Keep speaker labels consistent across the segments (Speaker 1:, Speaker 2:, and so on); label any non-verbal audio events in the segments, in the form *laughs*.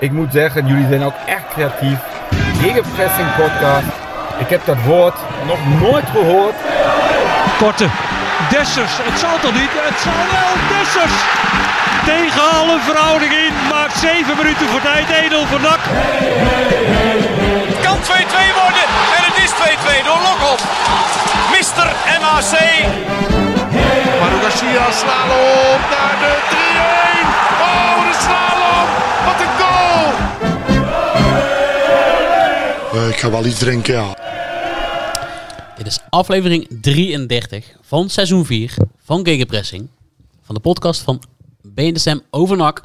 Speaker 1: Ik moet zeggen, jullie zijn ook echt creatief. Gegenpressing podcast. Ik heb dat woord nog nooit gehoord.
Speaker 2: Korte. Dessers. Het zal toch niet? Het zal wel. Dessers. Tegen alle verhouding in. Maakt 7 minuten voor tijd. 1-0 voor NAC.
Speaker 3: Kan 2-2 worden. En het is 2-2 door Lokop. Mister MAC.
Speaker 4: Maru Garcia, slalom naar de 3-1. Oh, de slalom. Wat een goal.
Speaker 5: Eh, ik ga wel iets drinken, ja.
Speaker 6: Dit is aflevering 33 van seizoen 4 van Gegenpressing. Van de podcast van BNSM over NAC.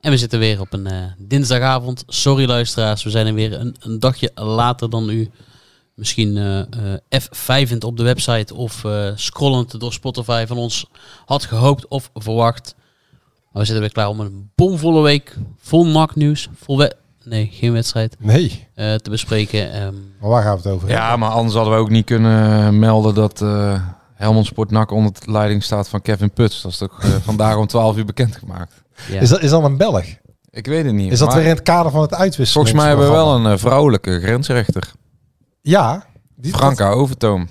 Speaker 6: En we zitten weer op een eh, dinsdagavond. Sorry luisteraars, we zijn er weer een, een dagje later dan u. Misschien eh eh F5 op de website of eh, scrollend door Spotify van ons had gehoopt of verwacht. Maar we zitten weer klaar om een bomvolle week. Vol NAC nieuws. Vol we- nee, geen wedstrijd.
Speaker 7: Nee,
Speaker 6: eh, te bespreken. Ehm,
Speaker 7: maar waar gaat het over?
Speaker 8: Ja, maar anders hadden we ook niet kunnen melden dat eh Helmond Sport NAC onder de leiding staat van Kevin Puts. Dat is
Speaker 4: *laughs*
Speaker 8: toch eh, vandaag om 12 uur bekendgemaakt.
Speaker 6: ja.
Speaker 7: Is, dat, is dat een Belg?
Speaker 8: Ik weet het niet.
Speaker 7: Is dat
Speaker 8: maar
Speaker 7: weer in het kader van het uitwisselen?
Speaker 8: Volgens mij hebben we wel een eh, vrouwelijke grensrechter.
Speaker 7: Ja. Die,
Speaker 8: Franka Overtoom.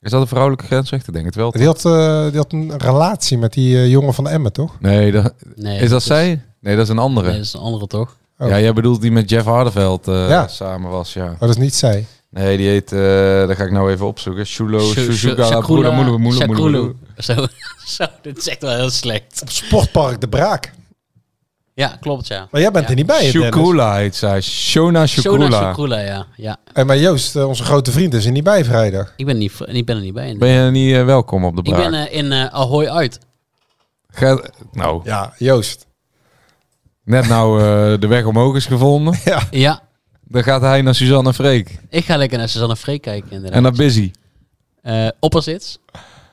Speaker 8: Is dat een vrouwelijke grensrechter? Denk het
Speaker 4: *laughs*
Speaker 8: wel.
Speaker 7: dat- die, had, eh, die had een relatie met die eh, jongen van Emmen, toch?
Speaker 8: Nee, dat,
Speaker 6: Nee, dus-
Speaker 8: is dat zij? Nee, dat is een andere.
Speaker 6: Nee, dat is een andere toch?
Speaker 7: Oh.
Speaker 8: Ja, jij bedoelt die met Jeff Hardeveld eh,
Speaker 7: Ja.
Speaker 8: samen was, ja.
Speaker 7: Maar dat is niet zij.
Speaker 8: Nee, die heet, eh daar ga ik nou even opzoeken. Shulo, Shuzuka,
Speaker 6: Shakrula-
Speaker 8: Broeder, Moeder, Moeder,
Speaker 6: Shakrulu. *laughs* Zo, zo, dit is echt wel heel slecht.
Speaker 7: Op Sportpark De Braak.
Speaker 6: Ja, klopt ja.
Speaker 7: Maar jij bent
Speaker 6: Ja.
Speaker 7: er niet bij, hè, Dennis.
Speaker 8: Shukula heet zij. Shona
Speaker 6: Shona
Speaker 8: Shukula.
Speaker 6: Shakrula, ja. ja.
Speaker 7: En maar Joost, eh, onze grote vriend, is er niet bij vrijdag.
Speaker 6: Ik ben, niet, ik ben er niet bij.
Speaker 8: Ben je niet eh, welkom op de
Speaker 6: ik
Speaker 8: braak?
Speaker 6: ben eh, in eh, Ahoy uit.
Speaker 8: Ga- nou,
Speaker 7: Ja, Joost.
Speaker 8: net nou eh, de weg omhoog is gevonden.
Speaker 6: Ja,
Speaker 8: Dan gaat hij naar Suzanne en Freek.
Speaker 6: ik ga lekker naar Suzanne Freek kijken
Speaker 8: En
Speaker 6: inderdaad.
Speaker 8: naar Busy.
Speaker 6: Eh, opposites.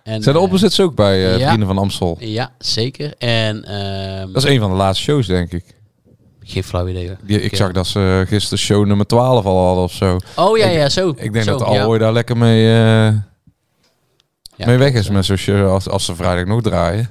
Speaker 6: En,
Speaker 8: Zijn de
Speaker 6: eh,
Speaker 8: opposites ook bij eh,
Speaker 6: ja.
Speaker 8: Vrienden van Amstel?
Speaker 6: ja, zeker. En ehm
Speaker 8: Dat is een van de laatste shows, denk ik.
Speaker 6: geen flauw idee. hoor.
Speaker 8: Die, ik
Speaker 6: Oké.
Speaker 8: zag dat ze eh, gisteren show nummer 12 al hadden of zo.
Speaker 6: Oh ja, ja, zo.
Speaker 8: Ik denk
Speaker 6: zo,
Speaker 8: dat
Speaker 6: ja.
Speaker 8: Alloy daar lekker mee, eh,
Speaker 6: Ja,
Speaker 8: mee weg
Speaker 6: klopt,
Speaker 8: is
Speaker 6: ja.
Speaker 8: met zo'n show als, als ze vrijdag nog draaien.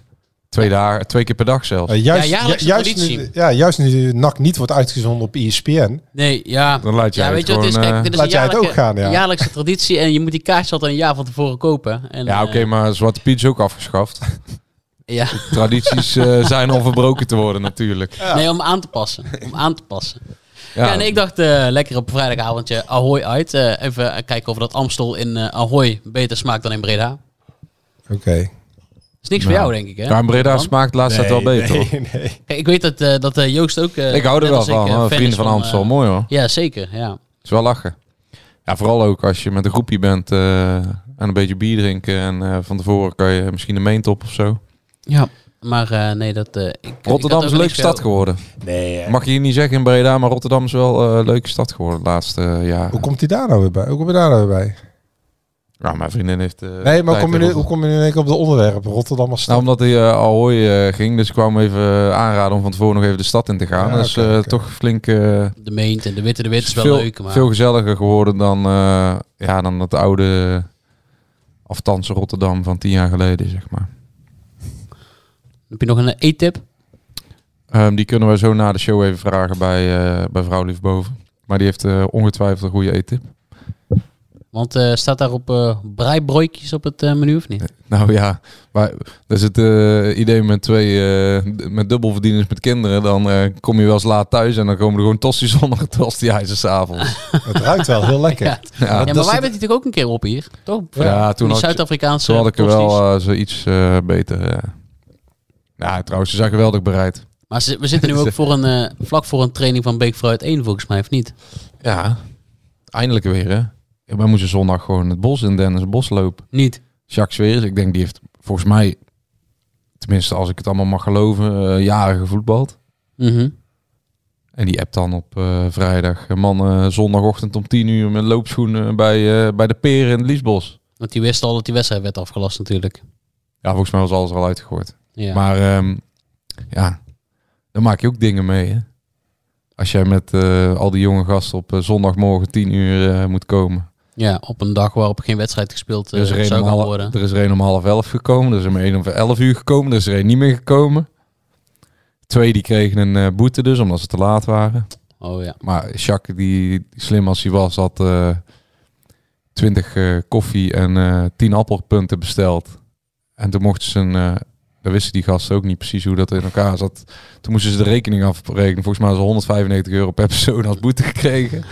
Speaker 8: Twee, dagen, twee keer per dag zelfs.
Speaker 7: Eh, juist,
Speaker 6: Ja, jaarlijkse
Speaker 7: juist, nu,
Speaker 6: traditie.
Speaker 7: ja, juist nu NAC niet wordt uitgezonden op E ESPN.
Speaker 6: Nee, ja.
Speaker 8: Dan laat jij
Speaker 6: ja,
Speaker 8: het
Speaker 6: weet je wat het is?
Speaker 8: gewoon,
Speaker 6: Kijk,
Speaker 8: eh,
Speaker 6: dit is
Speaker 7: laat
Speaker 6: een
Speaker 7: jij het
Speaker 6: jaarlijke-
Speaker 7: ook gaan, ja.
Speaker 6: jaarlijkse traditie en je moet die kaartjes altijd een jaar van tevoren kopen. En,
Speaker 8: Ja,
Speaker 6: eh,
Speaker 8: oké, maar Zwarte Piet is ook afgeschaft. *laughs*
Speaker 6: ja.
Speaker 8: Tradities eh, zijn om verbroken te worden natuurlijk. Ja,
Speaker 6: Nee, om aan te *laughs* passen. Om aan te passen. Ja, en ik dacht eh, lekker op vrijdagavondje Ahoy uit. Eh, even eh, kijken of dat Amstel in eh, Ahoy beter smaakt dan in Breda.
Speaker 7: Oké.
Speaker 6: Is niks voor jou, denk ik, hè?
Speaker 8: Ja, in Breda
Speaker 6: Dan?
Speaker 8: smaakt laatst dat wel beter. hoor.
Speaker 7: Nee, nee.
Speaker 6: Kijk, ik weet dat, eh, dat eh, Joost ook... eh,
Speaker 8: Ik hou er
Speaker 6: net
Speaker 8: wel
Speaker 6: als ik,
Speaker 8: van.
Speaker 6: eh,
Speaker 8: hoor.
Speaker 6: fan
Speaker 8: Vrienden
Speaker 6: is
Speaker 8: van Amstel,
Speaker 6: eh,
Speaker 8: mooi hoor.
Speaker 6: Ja, zeker. Ja.
Speaker 8: is wel lachen. Ja, vooral ook als je met een groepje bent eh, en een beetje bier drinken. En eh, van tevoren kan je misschien een meentop of zo.
Speaker 6: ja. Maar eh, nee, dat... eh, ik- ik,
Speaker 8: Rotterdam
Speaker 6: had
Speaker 8: is
Speaker 6: ook
Speaker 8: een leuke
Speaker 6: niks
Speaker 8: stad
Speaker 6: voor
Speaker 8: geworden.
Speaker 7: nee eh.
Speaker 8: Mag je hier niet zeggen in Breda, maar Rotterdam is wel eh, een leuke stad geworden de laatste eh, jaren.
Speaker 7: Hoe komt hij daar nou weer bij? Hoe komt hij daar nou weer bij?
Speaker 8: Ja, mijn vriendin heeft... eh,
Speaker 7: Nee, maar hoe
Speaker 8: tijd
Speaker 7: kom je
Speaker 8: in
Speaker 7: nu,
Speaker 8: Eh, Rotterdam.
Speaker 7: hoe kom je nu in één keer op de onderwerp? Rotterdam als stad?
Speaker 8: Nou, omdat hij eh Ahoy eh, ging, dus ik kwam hem even aanraden om van tevoren nog even de stad in te gaan.
Speaker 7: Ja,
Speaker 8: dat is
Speaker 7: oké,
Speaker 8: eh,
Speaker 7: oké.
Speaker 8: toch flink... eh,
Speaker 6: De meent en de witte de wit is wel
Speaker 8: veel,
Speaker 6: leuk, maar...
Speaker 8: veel gezelliger geworden dan, eh, ja, dan het oude aftansen Rotterdam van tien jaar geleden, zeg maar.
Speaker 6: Heb je nog een eh, e-tip?
Speaker 8: Ehm, die kunnen we zo na de show even vragen bij, eh bij vrouw Liefboven. Maar die heeft eh, ongetwijfeld een goede eettip.
Speaker 6: Want eh, staat daar op eh breibroikjes op het eh, menu of niet?
Speaker 8: Nou ja, maar dat is het eh, idee met twee, eh, d- met dubbelverdieners met kinderen. Dan eh, kom je wel eens laat thuis en dan komen er gewoon tosti's *laughs* onder het tostijzer s'avonds.
Speaker 7: Het ruikt wel heel lekker.
Speaker 6: Ja.
Speaker 8: *laughs* Ja,
Speaker 6: Ja, maar
Speaker 7: dat
Speaker 6: wij
Speaker 7: is-
Speaker 6: hebben het natuurlijk ook een keer op hier, toch?
Speaker 8: Ja, toen
Speaker 6: die
Speaker 8: had, je-
Speaker 6: Zuid-Afrikaanse
Speaker 8: toen had ik er wel
Speaker 6: toasties.
Speaker 8: eh, zoiets eh, beter. eh. Nou, trouwens, ze zijn geweldig bereid.
Speaker 6: Maar ze- we zitten nu
Speaker 8: *laughs*
Speaker 6: ook voor een, eh, vlak voor een training van Beekvruit 1, volgens mij, of niet?
Speaker 8: Ja, eindelijk weer hè. Ja, Wij moesten zondag gewoon het bos in Dennis Bos lopen.
Speaker 6: Niet.
Speaker 8: Jacques Weers, ik denk die heeft volgens mij, tenminste als ik het allemaal mag geloven, eh, jaren gevoetbald.
Speaker 6: Mhm.
Speaker 8: En die appt dan op eh, vrijdag, eh, mannen zondagochtend om 10 uur met loopschoenen bij, eh, bij de peren in het Liesbos.
Speaker 6: Want die wist al dat die wedstrijd werd afgelast natuurlijk.
Speaker 8: Ja, volgens mij was alles er al uitgehoord.
Speaker 6: Ja.
Speaker 8: Maar ehm, ja, dan maak je ook dingen mee hè. Als jij met eh, al die jonge gasten op eh, zondagmorgen 10 uur eh, moet komen.
Speaker 6: ja, op een dag waarop geen wedstrijd gespeeld eh,
Speaker 8: Er is, er, een
Speaker 6: zou
Speaker 8: om
Speaker 6: gaan
Speaker 8: half,
Speaker 6: worden.
Speaker 8: er is er een om half elf gekomen. Er is om één om elf uur gekomen. Er is er een niet meer gekomen. Twee die kregen een eh, boete dus, omdat ze te laat waren.
Speaker 6: Oh ja.
Speaker 8: Maar Jacques, die slim als hij was, had eh 20 eh, koffie en eh 10 appelpunten besteld. En toen mochten ze een... eh dat wisten die gasten ook niet precies hoe dat in elkaar zat. Toen moesten ze de rekening afrekenen. Volgens mij hadden ze 195 euro per persoon als boete gekregen.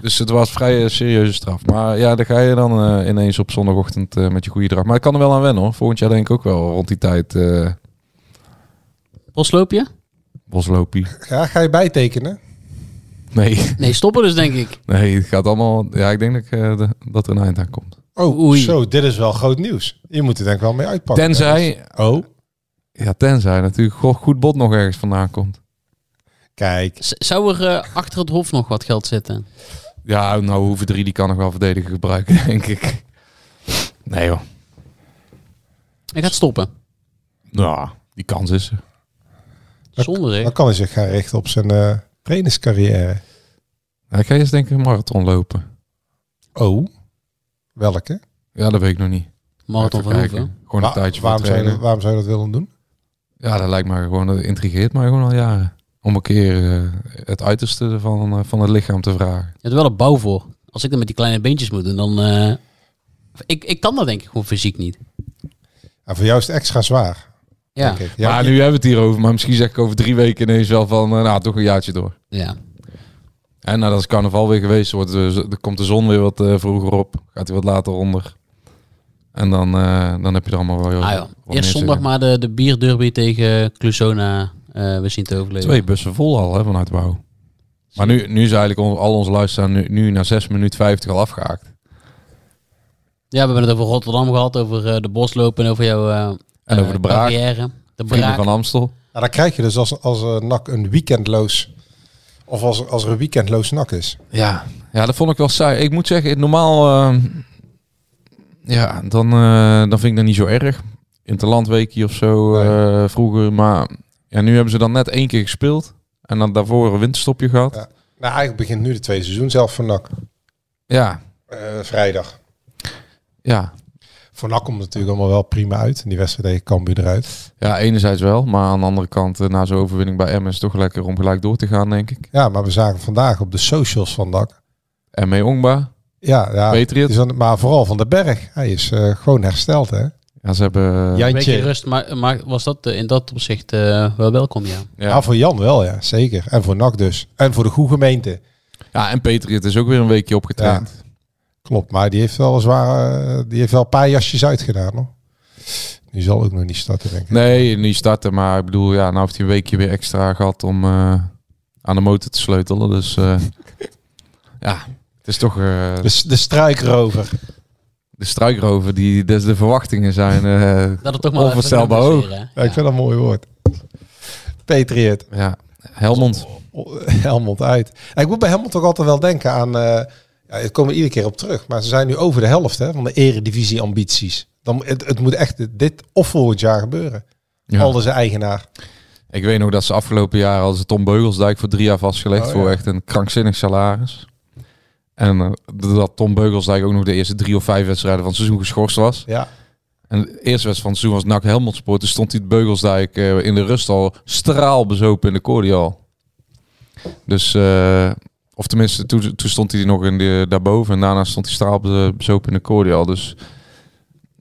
Speaker 8: dus het was vrij eh, serieuze straf. Maar ja, daar ga je dan eh, ineens op zondagochtend eh, met je goede draag. Maar ik kan er wel aan wennen hoor. Volgend jaar denk ik ook wel rond die tijd eh
Speaker 6: Bosloopje?
Speaker 8: boslopie.
Speaker 7: Ja, ga je bijtekenen?
Speaker 8: Nee, *laughs*
Speaker 6: Nee, stoppen dus denk ik.
Speaker 8: nee, het gaat allemaal... Ja, ik denk dat, ik, eh, de- dat er een eind aan komt.
Speaker 7: Oh,
Speaker 6: Oei.
Speaker 7: zo, dit is wel groot nieuws. Je moet er denk ik wel mee uitpakken.
Speaker 8: Tenzij,
Speaker 7: Oh,
Speaker 8: ja, tenzij natuurlijk go- goed bot nog ergens vandaan komt.
Speaker 7: kijk.
Speaker 6: Z- zou er eh, achter het hof nog wat geld zitten?
Speaker 8: Ja, nou, hoeven drie die kan nog wel verdedigen gebruiken, *laughs* denk ik. Nee joh.
Speaker 6: Hij gaat stoppen.
Speaker 8: Nou, die kans is er.
Speaker 6: Zonder
Speaker 7: Dan
Speaker 6: zeg.
Speaker 7: kan hij zich gaan richten op zijn eh trainerscarrière.
Speaker 8: Hij ga eerst denk ik een marathon lopen.
Speaker 7: Oh, welke?
Speaker 8: Ja, dat weet ik nog niet.
Speaker 6: Marathon
Speaker 8: Even
Speaker 6: van
Speaker 8: kijken.
Speaker 6: Hoeven.
Speaker 8: Gewoon een
Speaker 7: Wa-
Speaker 8: tijdje van
Speaker 7: waarom, zou je,
Speaker 8: trainen.
Speaker 7: dat- waarom zou je dat willen doen?
Speaker 8: Ja, dat lijkt mij gewoon, dat intrigeert mij gewoon al jaren. Om een keer eh, het uiterste van, eh, van het lichaam te vragen.
Speaker 6: Je hebt er wel een bouw voor. Als ik dat met die kleine beentjes moet doen, dan... eh, ik, ik kan dat denk ik gewoon fysiek niet.
Speaker 7: Ja, voor jou is het extra zwaar.
Speaker 6: Ja.
Speaker 7: Denk ik.
Speaker 8: Ja,
Speaker 7: Ja,
Speaker 8: nu hebben we het hierover, maar misschien zeg ik over drie weken ineens wel van, eh, nou, toch een jaartje door.
Speaker 6: ja.
Speaker 8: En nadat het carnaval weer geweest wordt, eh, z- dan komt de zon weer wat eh, vroeger op. Gaat hij wat later onder. En dan, eh, dan heb je er allemaal wel...
Speaker 6: Ah,
Speaker 8: wel
Speaker 6: ja.
Speaker 8: meer
Speaker 6: Eerst zondag
Speaker 8: zin in.
Speaker 6: maar de, de bierderby tegen Clusona. eh, we zien te overleven.
Speaker 8: Twee bussen vol al hè, vanuit Wouw. Maar nu, nu is eigenlijk on- al onze luisteraars nu, nu na 6 minuten 50 al afgehaakt.
Speaker 6: Ja, we hebben het over Rotterdam gehad, over eh, de boslopen en over jouw eh,
Speaker 8: En
Speaker 6: eh,
Speaker 8: over de braak.
Speaker 6: carrière. De
Speaker 8: Vrienden
Speaker 6: braak.
Speaker 8: van Amstel.
Speaker 7: Ja, dan krijg je dus als, als een nak een weekendloos... Of als, als er een weekendloos nak is.
Speaker 8: Ja. ja, dat vond ik wel saai. Ik moet zeggen, normaal... eh, ja, dan, eh, dan vind ik dat niet zo erg. Interlandweekje of zo eh, vroeger. Maar ja, nu hebben ze dan net één keer gespeeld. En dan daarvoor een winterstopje gehad.
Speaker 7: Ja. Nou, eigenlijk begint nu de tweede seizoen zelf voor nak.
Speaker 8: ja.
Speaker 7: Eh, vrijdag.
Speaker 8: Ja,
Speaker 7: Voor nak komt het natuurlijk allemaal wel prima uit. En die wedstrijd tegen Cambuur eruit.
Speaker 8: ja, enerzijds wel. Maar aan de andere kant, eh, na zo'n overwinning bij Emmen is het toch lekker om gelijk door te gaan, denk ik.
Speaker 7: Ja, maar we zagen vandaag op de socials van nak...
Speaker 8: En mee E Ongba.
Speaker 7: Ja, ja
Speaker 8: Patriot.
Speaker 7: is aan- maar vooral van de berg. Hij is eh, gewoon hersteld, hè?
Speaker 8: Ja, ze hebben...
Speaker 6: Een beetje rust, maar, maar was dat eh, in dat opzicht eh, wel welkom, ja.
Speaker 8: ja.
Speaker 7: Ja, voor Jan wel, ja, zeker. En voor NAC dus. En voor de goede gemeente.
Speaker 8: Ja, en Patriot is ook weer een weekje opgetraind.
Speaker 7: Klopt, maar die heeft wel een zware, eh, die heeft wel een paar jasjes uitgedaan, hoor. Die zal ook nog niet starten, denk ik.
Speaker 8: Nee, niet starten. Maar ik bedoel, ja, nou heeft hij een weekje weer extra gehad om eh, aan de motor te sleutelen. Dus
Speaker 7: *laughs*
Speaker 8: eh, ja, het is toch... eh,
Speaker 7: De, s- de struikrover.
Speaker 8: de struikrover, die, dus de verwachtingen zijn... eh,
Speaker 6: Dat het toch maar even
Speaker 8: Onvoorstelbaar hoog.
Speaker 6: nuanceren, hè.
Speaker 7: Ja, ik vind dat een mooi woord. Patriot.
Speaker 8: ja, Helmond.
Speaker 7: O- *laughs* Helmond uit. En ik moet bij Helmond toch altijd wel denken aan... eh ja, daar komen we iedere keer op terug. Maar ze zijn nu over de helft hè, van de eredivisie-ambities. Dan, het, het moet echt dit of volgend jaar gebeuren.
Speaker 8: Ja.
Speaker 7: Al zijn eigenaar.
Speaker 8: Ik weet nog dat ze afgelopen jaar hadden ze Tom Beugelsdijk voor drie jaar vastgelegd
Speaker 7: Oh,
Speaker 8: voor
Speaker 7: ja.
Speaker 8: echt een krankzinnig salaris. En eh, dat Tom Beugelsdijk ook nog de eerste drie of vijf wedstrijden van het seizoen geschorst was.
Speaker 7: Ja.
Speaker 8: En de eerste wedstrijd van het seizoen was NAC Helmond Sport. Toen stond hij het Beugelsdijk eh, in de rust al straalbezopen in de cordial. Dus, eh, of tenminste, toen, toen stond hij nog in de, daarboven en daarna stond hij straalbezopen in de cordial. Dus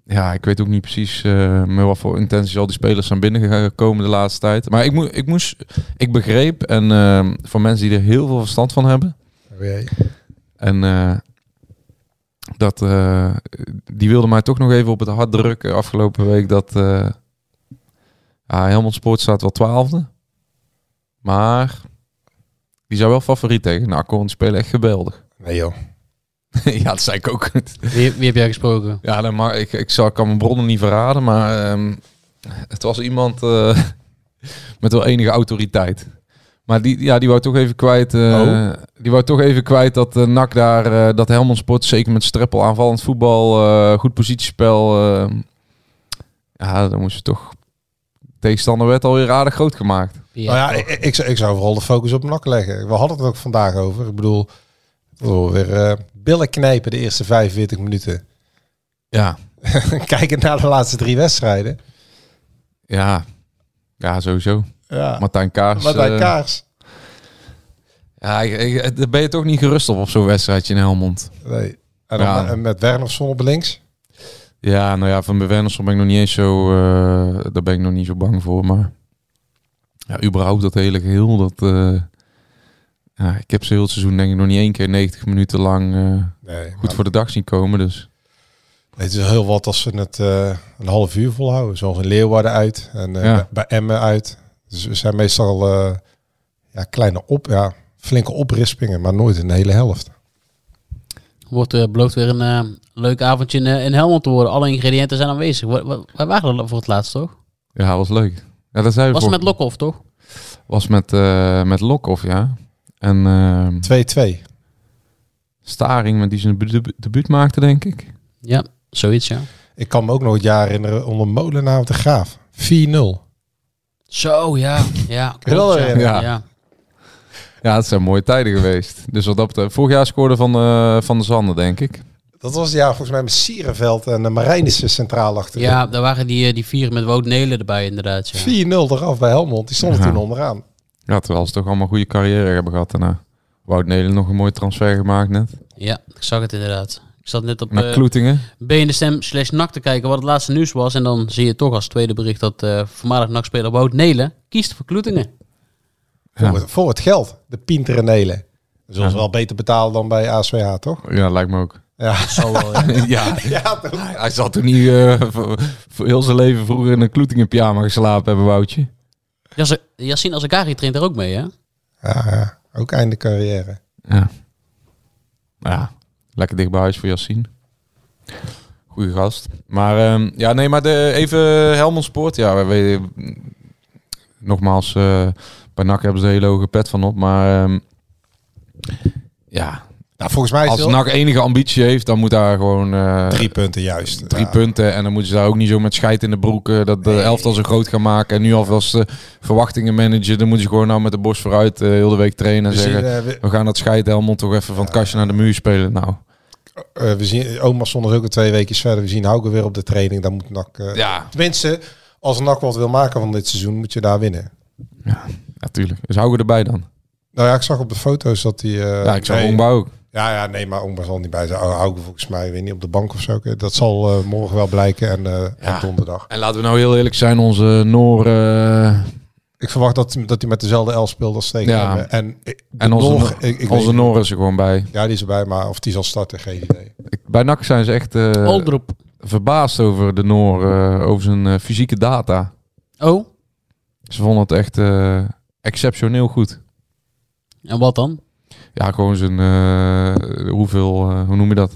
Speaker 8: ja, ik weet ook niet precies eh, met wat voor intenties al die spelers zijn binnengekomen de laatste tijd. Maar ik, moet, ik moest, ik begreep, en eh, van mensen die er heel veel verstand van hebben, en eh, dat, eh, die wilde mij toch nog even op het hart drukken afgelopen week dat eh ja, Helmond Sport staat wel twaalfde. Maar die zou wel favoriet tegen NAC want die spelen echt geweldig. *laughs*
Speaker 7: Nee joh.
Speaker 8: ja, dat zei ik ook.
Speaker 6: Wie, wie heb jij gesproken?
Speaker 8: ja, dan mag, ik, ik, zal, ik kan mijn bronnen niet verraden, maar ehm, het was iemand eh, *laughs* met wel enige autoriteit. Maar die, ja, die wou toch even kwijt. eh,
Speaker 7: Oh.
Speaker 8: Die wou toch even kwijt dat eh, NAC daar, eh, dat Helmond Sport, zeker met streppel, aanvallend voetbal, eh, goed positiespel. eh, ja, dan moest je toch. Tegenstander werd alweer aardig groot gemaakt.
Speaker 6: Ja.
Speaker 7: Nou ja, ik, ik, zou- ik zou vooral de focus op nak leggen. We hadden het er ook vandaag over. Ik bedoel, oh, weer eh, billen knijpen de eerste 45 minuten. *laughs*
Speaker 8: Ja.
Speaker 7: Kijken naar de laatste drie wedstrijden.
Speaker 8: Ja. Ja, sowieso.
Speaker 7: Ja.
Speaker 8: Martijn Kaars.
Speaker 7: Maar bij
Speaker 8: eh,
Speaker 7: Kaars.
Speaker 8: ja, ik- ik- daar ben je toch niet gerust op, op zo'n wedstrijdje in Helmond.
Speaker 7: Nee. En dan
Speaker 8: Ja.
Speaker 7: en met Wernersson op links.
Speaker 8: Ja, nou ja, van Bewennersel ben ik nog niet eens zo... eh, daar ben ik nog niet zo bang voor, maar... Ja, überhaupt dat hele geheel, dat... eh, ja, ik heb ze heel het seizoen denk ik nog niet één keer 90 minuten lang eh,
Speaker 7: Nee, maar-
Speaker 8: goed voor de dag zien komen, dus...
Speaker 7: nee, het is heel wat als ze het eh, een half uur volhouden. Zoals in Leeuwarden uit en eh,
Speaker 8: Ja.
Speaker 7: bij Emmen uit. Dus we zijn meestal eh, ja, kleine op, ja, flinke oprispingen, maar nooit een hele helft.
Speaker 6: Wordt eh belooft weer een eh, leuk avondje in, eh, in Helmond te worden. Alle ingrediënten zijn aanwezig. Waar, waar, waar waren we voor het laatst, toch?
Speaker 8: Ja, was leuk. Ja, dat zei we
Speaker 6: Was het
Speaker 8: voor-
Speaker 6: met Lokhoff, toch?
Speaker 8: Was met, eh met Lokhoff, ja. En ehm,
Speaker 7: 2-2.
Speaker 8: Staring, met die zijn debu- debuut maakte, denk ik.
Speaker 6: Ja, zoiets, ja.
Speaker 7: Ik kan me ook nog het jaar herinneren onder Molenaar op de Graaf. 4-0.
Speaker 6: Zo, ja. Ja,
Speaker 7: je dat
Speaker 6: klopt, ja.
Speaker 7: herinneren?
Speaker 6: ja.
Speaker 8: Ja, het zijn mooie tijden geweest. Dus wat dat betreft, vorig jaar scoorde van, eh, van de Zanden, denk ik.
Speaker 7: Dat was het jaar volgens mij met Sierenveld en eh, de Marijnissen centraal achter.
Speaker 6: Ja, daar waren die, eh, die vier met Wout Nelen erbij inderdaad. Ja.
Speaker 7: 4-0 eraf bij Helmond. Die stonden
Speaker 8: Ja.
Speaker 7: toen onderaan.
Speaker 8: Ja, terwijl ze toch allemaal goede carrière hebben gehad daarna. Wout Nelen nog een mooie transfer gemaakt net.
Speaker 6: ja, ik zag het inderdaad. Ik zat net op
Speaker 8: Naar
Speaker 6: eh,
Speaker 8: Kloetingen.
Speaker 6: BNSM slash NAC te kijken wat het laatste nieuws was. En dan zie je toch als tweede bericht dat eh voormalig NAC-speler Wout Nelen kiest voor Kloetingen.
Speaker 8: Ja.
Speaker 7: Voor, het, voor het geld. De Pinter en Nelen. Zullen ze
Speaker 8: Ja.
Speaker 7: wel beter betalen dan bij ASWH, toch? *laughs*
Speaker 8: Ja, lijkt me ook.
Speaker 6: *laughs*
Speaker 7: Ja.
Speaker 6: Zo wel, ja.
Speaker 8: *laughs* ja,
Speaker 7: ja toch?
Speaker 8: hij zal toen niet eh, voor, voor heel zijn leven vroeger in een Kloetingen pyjama geslapen hebben, Woutje.
Speaker 6: Jas- Yassine Azagari traint daar ook mee, hè?
Speaker 7: Ja, ja. ook einde carrière.
Speaker 8: Ja. Ja, lekker dicht bij huis voor Yassine. Goeie gast. Maar ehm, ja, nee, maar de, even Helmond Sport. Ja, we, we- nogmaals, eh, bij NAC hebben ze een hele hoge pet van op. Maar ehm, ja,
Speaker 7: Nou, volgens mij is
Speaker 8: als
Speaker 7: het
Speaker 8: NAC enige ambitie heeft, dan moet daar gewoon eh,
Speaker 7: drie punten juist.
Speaker 8: drie
Speaker 7: Ja.
Speaker 8: punten. En dan moeten ze daar ook niet zo met scheid in de broek eh, dat de elftal zo groot gaan maken. En nu alvast eh, verwachtingen managen. Dan moeten ze gewoon nou met de borst vooruit eh, heel de week trainen en
Speaker 7: We zien,
Speaker 8: zeggen...
Speaker 7: eh, we,
Speaker 8: We gaan dat scheid Helmond toch even van het kastje naar de muur spelen. Nou,
Speaker 7: eh, we zien Oma stond dus ook al twee weken verder. We zien Hauke weer op de training. Dan moet NAC... eh,
Speaker 8: ja,
Speaker 7: Tenminste, als NAC wat wil maken van dit seizoen, moet je daar winnen.
Speaker 8: natuurlijk. dus houden we erbij dan.
Speaker 7: Nou ja, ik zag op de foto's dat hij... eh,
Speaker 8: ja, ik zou
Speaker 7: nee.
Speaker 8: Ongba ook.
Speaker 7: Ja, ja, nee, maar Ongba zal niet bij zijn. Oh, Hauke volgens mij, weet niet, op de bank of zo. Dat zal eh, morgen wel blijken en, eh, en
Speaker 8: Ja.
Speaker 7: donderdag.
Speaker 8: En laten we nou heel eerlijk zijn, onze Noor eh,
Speaker 7: Ik verwacht dat, dat hij met dezelfde L speelt als tegen
Speaker 8: Ja.
Speaker 7: hem. En, eh, de
Speaker 8: en onze,
Speaker 7: Nog,
Speaker 8: Noor-
Speaker 7: ik, ik
Speaker 8: onze
Speaker 7: weet-
Speaker 8: Noor is er gewoon bij.
Speaker 7: Ja, die is erbij, maar of die zal starten, geen idee.
Speaker 8: Ik- bij NAC zijn ze echt eh,
Speaker 6: Oldroep.
Speaker 8: verbaasd over de Noor, eh, over zijn eh, fysieke data.
Speaker 6: Oh,
Speaker 8: Ze vonden het echt eh, exceptioneel goed.
Speaker 6: en wat dan?
Speaker 8: Ja, gewoon zijn, eh, hoeveel, eh, hoe noem je dat?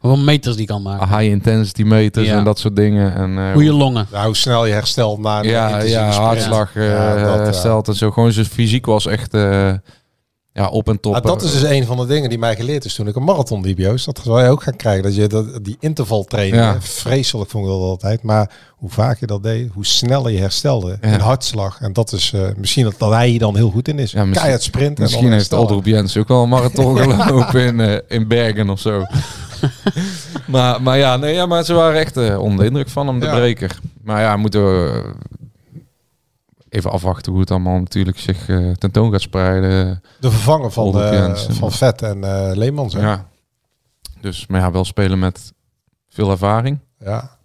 Speaker 6: Hoeveel meters die kan maken?
Speaker 8: High intensity meters
Speaker 6: Ja.
Speaker 8: en dat soort dingen. En, eh,
Speaker 6: Goeie longen.
Speaker 7: Nou, hoe snel je herstelt na een
Speaker 8: ja,
Speaker 7: intensieve
Speaker 8: ja
Speaker 7: sprint.
Speaker 8: hartslag eh
Speaker 7: Ja, dat, ja.
Speaker 8: hersteld en zo. Gewoon zijn fysiek was echt eh, ja, op en top.
Speaker 7: Ah, dat is dus een van de dingen die mij geleerd is toen ik een marathon liep, Joost. Dat zou je ook gaan krijgen. Dat je dat, die intervaltraining,
Speaker 8: Ja.
Speaker 7: hè, vreselijk vond ik dat altijd. Maar hoe vaak je dat deed, hoe sneller je herstelde.
Speaker 8: Ja.
Speaker 7: En hartslag. En dat is eh, misschien dat, dat hij hier dan heel goed in is.
Speaker 8: Ja, misschien-
Speaker 7: Keihard sprint. en
Speaker 8: Misschien
Speaker 7: dan
Speaker 8: heeft
Speaker 7: herstellen.
Speaker 8: Aldroep Jens ook wel een *laughs* marathon gelopen in, eh, in Bergen of *laughs* zo. maar, maar, ja, nee, ja, maar ze waren echt eh, onder de indruk van hem, de
Speaker 7: Ja.
Speaker 8: breker. Maar ja, moeten we eh, even afwachten hoe het allemaal natuurlijk zich eh, tentoon gaat spreiden.
Speaker 7: De vervanger van,
Speaker 8: Aldroep
Speaker 7: eh,
Speaker 8: Jensen.
Speaker 7: van Vet en eh Leemans. hè?
Speaker 8: Ja. Dus, maar ja, wel spelen met veel ervaring.
Speaker 7: Ja.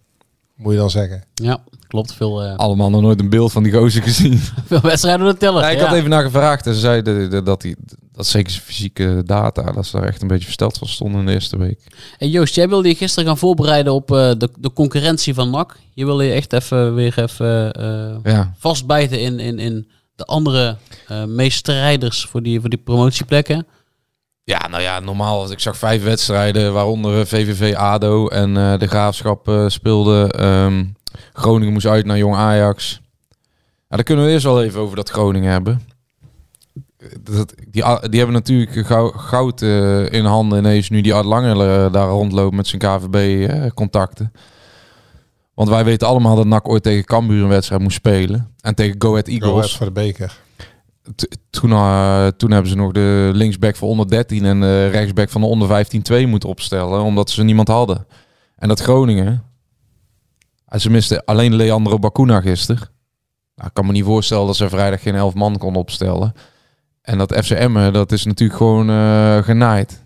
Speaker 7: Moet je dan zeggen.
Speaker 6: Ja, klopt. Veel, eh,
Speaker 8: Allemaal nog nooit een beeld van die gozer *laughs* gezien.
Speaker 6: veel wedstrijden te tellen.
Speaker 8: Nee, ik
Speaker 6: ja.
Speaker 8: had even naar gevraagd en ze zeiden dat, dat, die, dat zeker zijn fysieke data, dat ze daar echt een beetje versteld van stonden in de eerste week.
Speaker 6: Hey Joost, jij wilde je gisteren gaan voorbereiden op eh, de, de concurrentie van NAC. Je wilde je echt even weer even eh,
Speaker 8: Ja.
Speaker 6: vastbijten in, in, in de andere eh, meestrijders voor die, voor die promotieplekken.
Speaker 8: Ja, nou ja, normaal. was- Ik zag vijf wedstrijden, waaronder eh, VVV ADO en eh, de Graafschap eh, speelde. Ehm, Groningen moest uit naar Jong Ajax. Ja, dan kunnen we eerst wel even over dat Groningen hebben. Dat, die, a- die hebben natuurlijk gou- goud eh, in handen ineens nu die Art Lange eh, daar rondloopt met zijn KVB-contacten. eh, Want wij weten allemaal dat NAC ooit tegen Cambuur een wedstrijd moest spelen. En tegen Go Ahead
Speaker 7: Go
Speaker 8: Eagles.
Speaker 7: Ahead voor de beker.
Speaker 8: T- toen, eh, toen hebben ze nog de linksback van onder 13 en de rechtsback van de onder 15 2 moeten opstellen, omdat ze niemand hadden. En dat Groningen, eh, ze misten alleen Leandro Bacuna gisteren. Nou, ik kan me niet voorstellen dat ze vrijdag geen elf man kon opstellen. En dat FCM, dat is natuurlijk gewoon eh, genaaid.